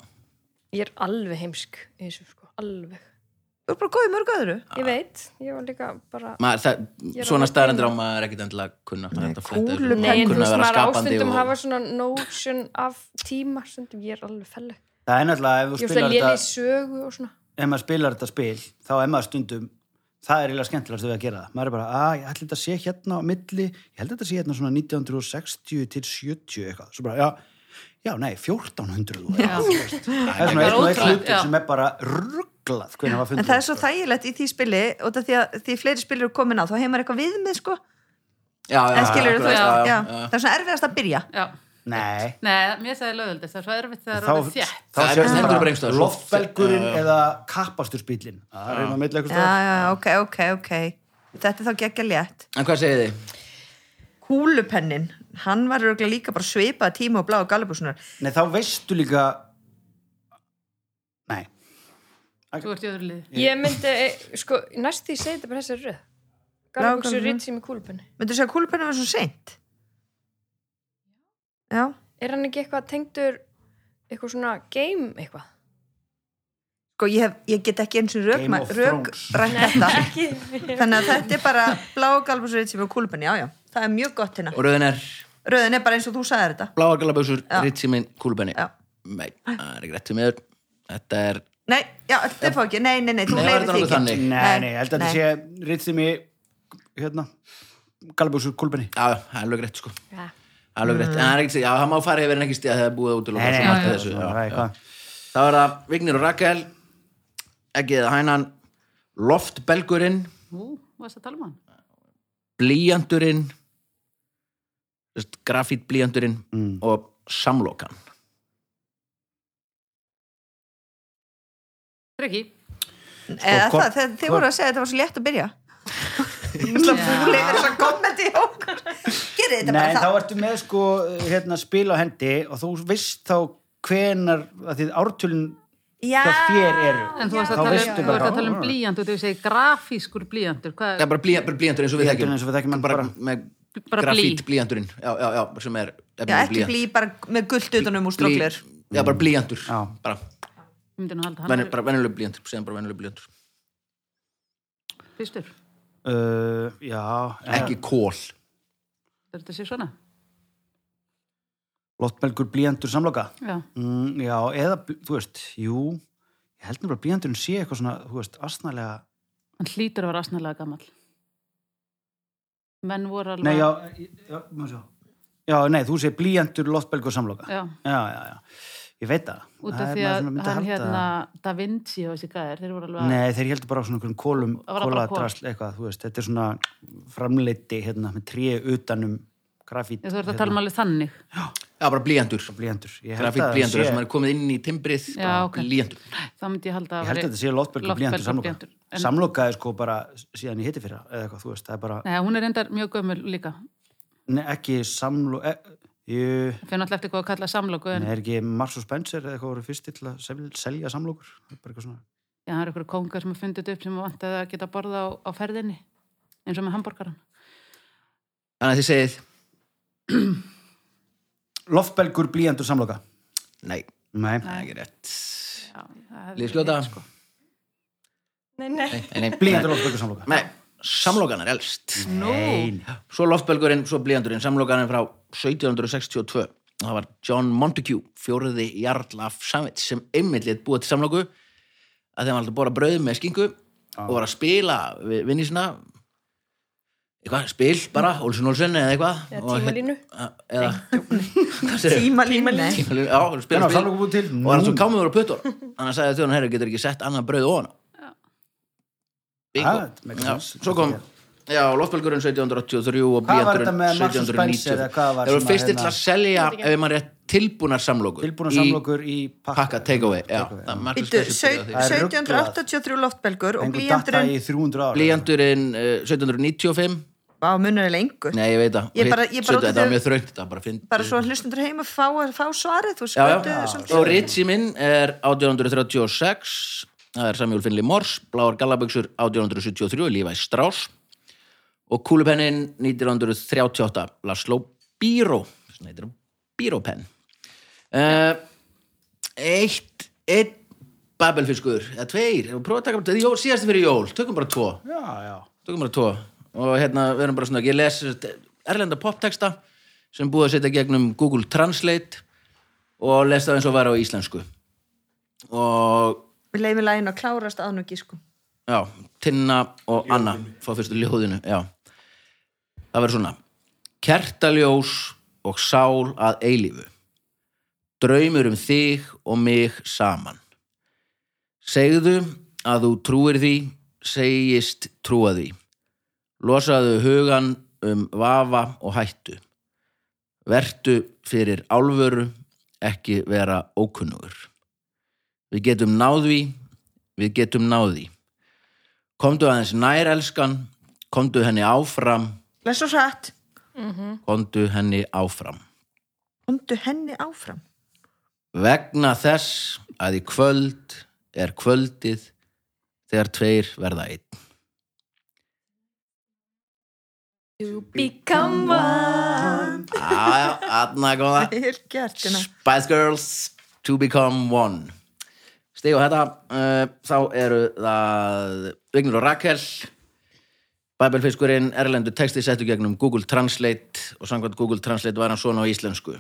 S6: Ég er alveg heimsk í þessu, sko, alveg.
S2: þú er bara góð í mörg öðru
S6: Ég veit, ég var líka bara...
S1: maður, það,
S6: Ég er
S1: svona
S6: alveg
S1: staðrendur á maður er ekkit endilega að kunna það er hægt að fletta þessu. Maður
S2: kúlupenn.
S6: Nei, en þú
S1: kunna að
S6: veist,
S1: vera
S6: maður
S1: skapandi
S6: ástundum
S1: og-
S6: hafa svona notion af tíma, stundum ég er alveg felleg.
S3: Það er náttúrulega, ef þú
S6: Ég er alltaf lélega
S3: spilar
S6: í
S3: þetta,
S6: sögu og svona.
S3: ef maður spilar þetta spil, þá er maður stundum, það er eiginlega skemmtilegast við að gera það maður er bara, að ég ætla þetta að sé hérna á milli ég held að þetta sé hérna svona 1960 til 70 eitthvað, svo bara, já já, nei, 1400 og
S4: Já.
S3: eitthvað, þú veist. það er
S4: Það
S3: svona
S4: er
S3: eitt og eitt
S4: ótrúlegt,
S3: hlutur
S4: já.
S3: sem er bara rugglað hvernig
S2: En
S3: var
S2: það
S3: fundið
S2: er svo þægilegt í því spili og það því að því fleiri spilir eru komin á þá hefur maður eitthvað viðmið sko
S1: já, já,
S2: en skilur
S1: akkurat,
S2: þú veist, já,
S1: já.
S2: það er svona erfiðast að byrja
S4: já.
S3: nei,
S4: Nei, mér sagði lögöldi, það er svo erfitt þegar það
S3: þá,
S4: er þétt.
S3: þá
S1: Það er
S3: sér
S1: stendur
S3: bara
S1: bara einhvers staðar, eh, svo-
S3: loftbelgurinn
S1: Já, já.
S3: eða kappastursbílinn það er einu á milli
S2: já,
S3: eitthvað
S2: já, ok, ok, ok þetta er þá geggja létt
S1: En hvað segið þið?
S2: Kúlupennin, hann var örugglega líka bara svipað tíma og blá og galabúsunar
S3: nei, þá veistu líka nei,
S4: Þú ert í öðru liði.
S6: Ég myndi, eh, sko, næst því segi þetta bara þessari röð. Garbuxur,
S2: Blágálfur.
S6: Ritsi með kúlupenni.
S2: myndur þú segja að kúlupennin var svo seint já,
S6: Er hann ekki eitthvað tengdur eitthvað svona game eitthvað?
S2: sko ég, hef, ég get ekki eins og rök,
S3: Game of
S2: rök rætt (laughs) þetta þannig að þetta er bara blá og galabúsunar sem er kúlupenni, já, já, það er mjög gott hérna
S1: Og rauðin er
S2: röðin er bara eins og þú sagðir þetta
S1: bláar galabössur,
S2: Já.
S1: ritsíminn, kúlubenni.
S2: Já.
S1: Nei, það er ekki rétt fyrir mér. Þetta er,
S2: Nei, já, þetta fá ekki, nei, nei, nei, þú
S1: Nei, var
S2: leiðir
S1: þetta
S2: því
S1: nokkuð
S2: ekki.
S1: þannig?
S3: nei,
S2: Nei,
S3: nei, ég held að
S2: nei.
S3: þetta sé rýttið mig hérna, galabúsur kulbenni
S1: já, já, það er alveg rétt sko.
S6: Já.
S1: Alveg rétt, en það er ekki, já, það má fara yfir en ekki stíða þegar búið út í
S3: Nei, nei,
S1: margt
S3: nei,
S1: af þessu.
S3: svona,
S1: Já,
S3: það
S1: (laughs) já.
S3: er eitthvað.
S1: Það var það Vignir og Rakel, ekki eða hænan, loftbelgurinn,
S4: Ú, varst að tala um hann?
S1: blíjandurinn, grafítblíjandurinn mm. og samlokan.
S4: Freki.
S2: Eða
S3: Sko,
S2: það, þeir,
S3: hvort-
S2: þeir
S3: hvort-
S2: voru að segja að þetta var svo létt að byrja. (laughs) Þú leiðir þess að kommenti á okkur. Gerið þetta
S3: Nei,
S2: bara
S3: þá
S2: það.
S3: ertu með sko hérna, spil á hendi og þú veist þá hvenar að því ártölin
S2: Já.
S3: hjá þér eru
S4: En þú varst
S3: Þá Mm.
S4: að tala um,
S3: veistu
S4: þú
S3: bara,
S4: varst að tala um
S3: já.
S4: blíjand og þú segir grafískur blíjandur. Hvað
S1: Það er bara blí- bara blíjandur eins og við þekkjum.
S3: Blýanturinn eins og við þekkjum hann
S1: bara,
S3: bara.
S1: með
S4: Bara blý.
S1: grafítblíjandurinn, já, já, já, sem er
S2: Já, ekki blí bara með gullt utanum úr stroklir.
S1: Já, bara blíjandur,
S3: Já.
S1: bara,
S4: Ég myndi nú halda hann
S1: venju,
S4: væri
S1: bara venjuleg blíjandur, segðum bara venjuleg blíjandur.
S4: fyrstur.
S3: Uh, já,
S1: Ekki kól.
S4: Er þetta sér svona?
S3: lottmelgur blíjandur eh, samloka
S4: Já.
S3: mm, Já, eða, bl- þú veist, jú ég held nefnilega að blíjandurinn sé eitthvað svona þú veist, astnalega,
S4: Hann hlýtur að vera asnalega gammal. Menn voru alveg...
S3: nei já, já, má sjá. já nei, þú segir blíjandur lottmelgur samloka
S4: Já.
S3: já, já, já. ég veit það
S4: Út
S3: Það er
S4: af því
S3: maður
S4: að
S3: svona myndi
S4: hann
S3: halda
S4: hérna,
S3: það.
S4: Da Vinci og þessi gæðir, þeir voru alveg...
S3: Nei, þeir heldur bara á svona einhverjum kólum,
S4: Það var bara kol.
S3: kóladrasl eitthvað, þú veist, þetta er svona framleiti hérna með tríu utanum grafít,
S4: Ég þú ert að tala um alveg þannig.
S1: Já, bara blíjandur.
S3: blíjandur. Ég held
S1: grafít
S3: að
S1: blíjandur,
S3: sé-
S1: sem er komið inn í timbrið
S4: Já, ok.
S1: blíjandur.
S4: Það myndi ég
S3: Ég
S4: halda
S3: held
S4: að
S3: að
S4: væri-
S3: þetta sé loftbelgur blíjandur
S4: Loftbelgur
S3: samloka.
S4: blýantur, en-
S3: Samloka er sko bara síðan ég hitti fyrir eða eitthvað, þú veist, það er bara
S4: Nei, hún er reyndar mjög gömul líka.
S3: ne, ekki samlo... E, jú,
S4: Fyrir náttúrulega eftir hvað að kalla samloku, en
S3: nei, er ekki Mars og Spencer eða eitthvað voru fyrst til að sel, selja samlokur? Það er bara eitthvað svona.
S4: Já, það eru ykkur kongar sem að fundið þetta upp sem að vantaði að geta borða á, á ferðinni eins og með hambúrgaran.
S1: Þannig að þið segið,
S3: Loftbelgur blíjandur samloka.
S1: nei,
S3: Nei.
S1: það er ekki rétt.
S4: Já, það hefði
S1: Lífsgljóta?
S4: verið, sko.
S6: Nei, nei.
S1: Nei, nei,
S3: Blíjandur loftbelgur samloka.
S1: Nei, samlokan er elst.
S4: Nú,
S1: Svo loftbelgurinn, svo blíjandurinn, samlokanin frá 1762. Það var John Montague, fjóruði jarl af samvitt sem einmittlit búið til samloku að þeim alltaf bóra brauð með skingu og var að spila við vinni sinna eitthvað, spil bara, Olsson Olsson eða eitthvað.
S6: Eða
S1: Og hér-
S6: tímalínu.
S1: Eða, hvað segir
S2: Tímalín. Nei.
S1: Tímalínu, já,
S3: Hann
S1: spila
S3: var samloku Hérna, búið til
S1: og var hann svo
S3: núna.
S1: kámiður á puttur hann sagði að þjóðan herri getur ekki sett annað brauð ofan á. Bingo.
S3: Ah, þetta makes
S1: Já,
S3: sense.
S1: svo kom já, loftbelgurinn 1783 og
S3: Hvað var þetta
S1: blíjandurinn
S3: með Marks og Spencer
S1: 1790
S3: eða hvað var
S1: þeir voru
S3: svona,
S1: fyrst til
S3: hérna-
S1: að selja ef maður er tilbúnar samlokur
S3: Tilbúna samlokur í pakka.
S1: pakka takeaway já,
S3: Takeaway,
S1: það er Marcus
S2: Býttu,
S1: Spencer byrjaði
S2: sau-
S1: á því.
S3: Það er
S2: 1783 loftbelgur og
S3: Engu datta
S2: blíjandurinn,
S3: í 300 ára.
S1: blíjandurinn eh, 1795
S2: á munurilega engur.
S1: nei, ég veit það
S2: Ég
S1: Og
S2: bara-
S1: hitt-
S2: ég bara út
S1: 17, þetta
S2: af
S1: var
S2: því-
S1: mjög þröngt þetta var bara finn
S2: Bara svo hlustundur heima fá, fá svarið, þú
S1: já,
S2: skotuðu
S1: já.
S2: svolítið.
S1: og Ritsi minn er 1836 það er Samuel Finley Morse Bláar Gallaböksur 1873 Lífæ Strás og Kúlupennin 1938 Laszlo Bíró sem heitir hann Bírópenn uh, eitt einn babelfiskur eða tveir, Ef við prófum að taka bara jó, síðast fyrir jól, tökum bara tvo
S3: Já, já.
S1: tökum bara tvo og hérna við erum bara svona, ég les eh, erlenda poptexta sem búið að setja gegnum Google Translate og les það eins og var á íslensku og
S2: Við leiðum lægin að klárast án og gísku.
S1: já, Tinna og Anna frá fyrstu ljóðinu, já það verður svona kertaljós og sál að eilífu draumur um þig og mig saman segðu að þú trúir því segist trúa því losaðu hugan um vafa og hættu vertu fyrir álvöru ekki vera ókunnugur við getum náðví við getum náðví komdu aðeins nær elskan komdu henni áfram
S2: Les svo satt,
S1: komdu henni áfram
S2: komdu henni áfram.
S1: vegna þess að í kvöld er kvöldið þegar tveir verða einn
S6: Become one
S1: aðja, aðna góða
S2: Vel gert, Gunnar.
S1: Spice Girls to become one stig og þetta uh, þá eru það Vignur og Rakel Babelfiskurinn, erlendu texti settu gegnum Google Translate og samkvæmt Google Translate var hann svona á íslensku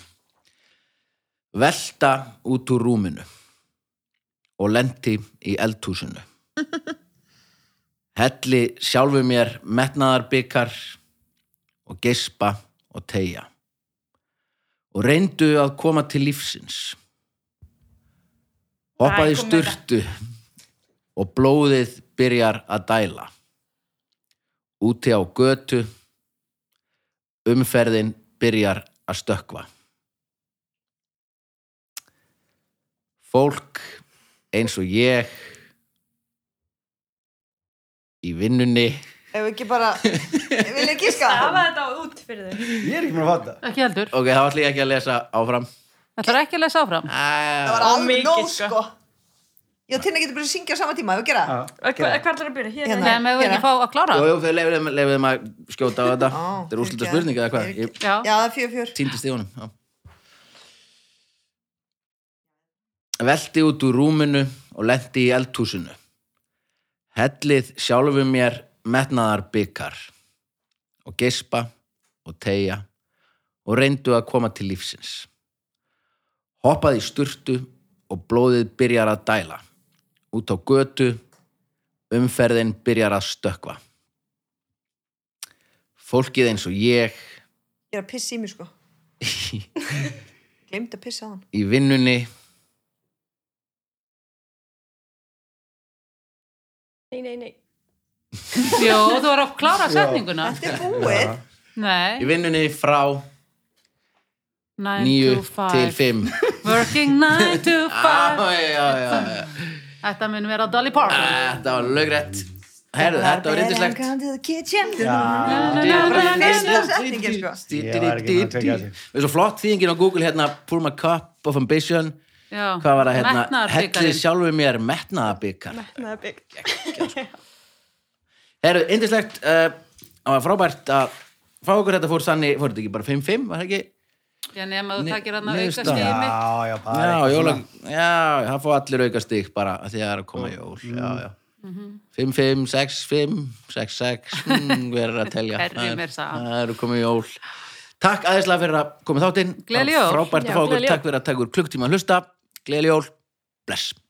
S1: Velta út úr rúminu og lendi í eldhúsinu Helli sjálfu mér metnaðarbikar og gespa og teia og reyndu að koma til lífsins. Hoppaði
S6: Æ,
S1: í
S6: kom með
S1: sturtu og blóðið byrjar að dæla. Úti á götu, umferðin byrjar að stökkva. Fólk eins og ég í vinnunni
S2: Ef ekki bara, ég vil ekki ská. (laughs)
S6: hafa þetta út fyrir þau
S3: Ég er ekki mér að fatta.
S4: Ekki heldur.
S1: Ok, þá ætlum ég ekki að lesa áfram
S4: Það er ekki að lesa áfram.
S2: Það var
S6: Á
S2: alveg
S6: mikið,
S2: nóg,
S6: sko.
S2: sko. Já, Tinna getur bara að syngja á sama tíma, ef við gera það.
S6: Hvað hva hvað ætlar að byrja? Hérna.
S2: Hérna.
S4: Nei, með við
S2: Gera.
S4: ekki fá að klára.
S1: Jú, jú, þau leifum þeim leifum þeim að skjóta á þetta
S2: Ó,
S1: Þetta er úrslita
S2: fyrirgefðu.
S1: spurning eða hvað Ég
S2: Fyrirgefðu.
S4: Já.
S2: Já, það er fjör, fjör.
S1: týndi stífunum já. Velti út úr rúminu og lendi í eldhúsinu Hellið sjálfu mér metnaðar byggar og gespa og teia og reyndu að koma til lífsins Hoppaði í sturtu og blóðið byrjar að dæla út á götu umferðin byrjar að stökkva Fólkið eins og ég
S2: Ég er að pissa í
S1: (laughs)
S2: mig, sko. Glemt að pissa á hann.
S1: í vinnunni
S6: Nei, nei, nei
S4: Jú, þú var að klára setninguna.
S2: Þetta er búið.
S4: Nei.
S1: í vinnunni frá
S4: 9
S1: 9 til Ah, 5
S4: Working 9
S1: (laughs)
S4: to 5.
S1: Þetta
S4: Þetta mun vera Dolly
S1: Ah.
S4: Parton.
S1: var lögrætt Herðu, þetta var reyndislegt
S2: Come to the kitchen.
S3: Já,
S2: Fyrsta setningin, sko.
S3: Ég var ekki búin að kveikja á því.
S1: Við svo flott þýðingin á Google hérna Pour my cup of ambition
S4: Já.
S1: Hvað var það hérna? Hellið
S4: Metnaðarbikarinn.
S1: sjálfu mér metnaðabikar
S6: Það er bygg
S1: Herðu, reyndislegt Það var frábært að fá okkur þetta fór þannig Fór þetta ekki bara 5-5, var það ekki?
S4: Ég nema þú
S1: Ni-
S4: takir hann að auka
S1: niðurstaða.
S4: stíði mitt.
S3: já, já, bara
S1: Já,
S3: eitthvað
S1: jóla,
S3: svona. Mm.
S1: já, það fá allir auka stig bara af því að það er að koma jól já, já. 5, 5, 6, 5 6, 6, mm, verður að telja
S4: Herri
S1: Það er-
S4: mér sagði hann.
S1: það eru komið jól Takk aðeinslega fyrir að koma í þáttinn
S4: Gleðileg
S1: Það var
S4: jól.
S1: Frábært að
S6: Já,
S1: fá okkur,
S6: gleðileg jól.
S1: takk fyrir að taka úr klukktíma að hlusta Gleðileg jól, bless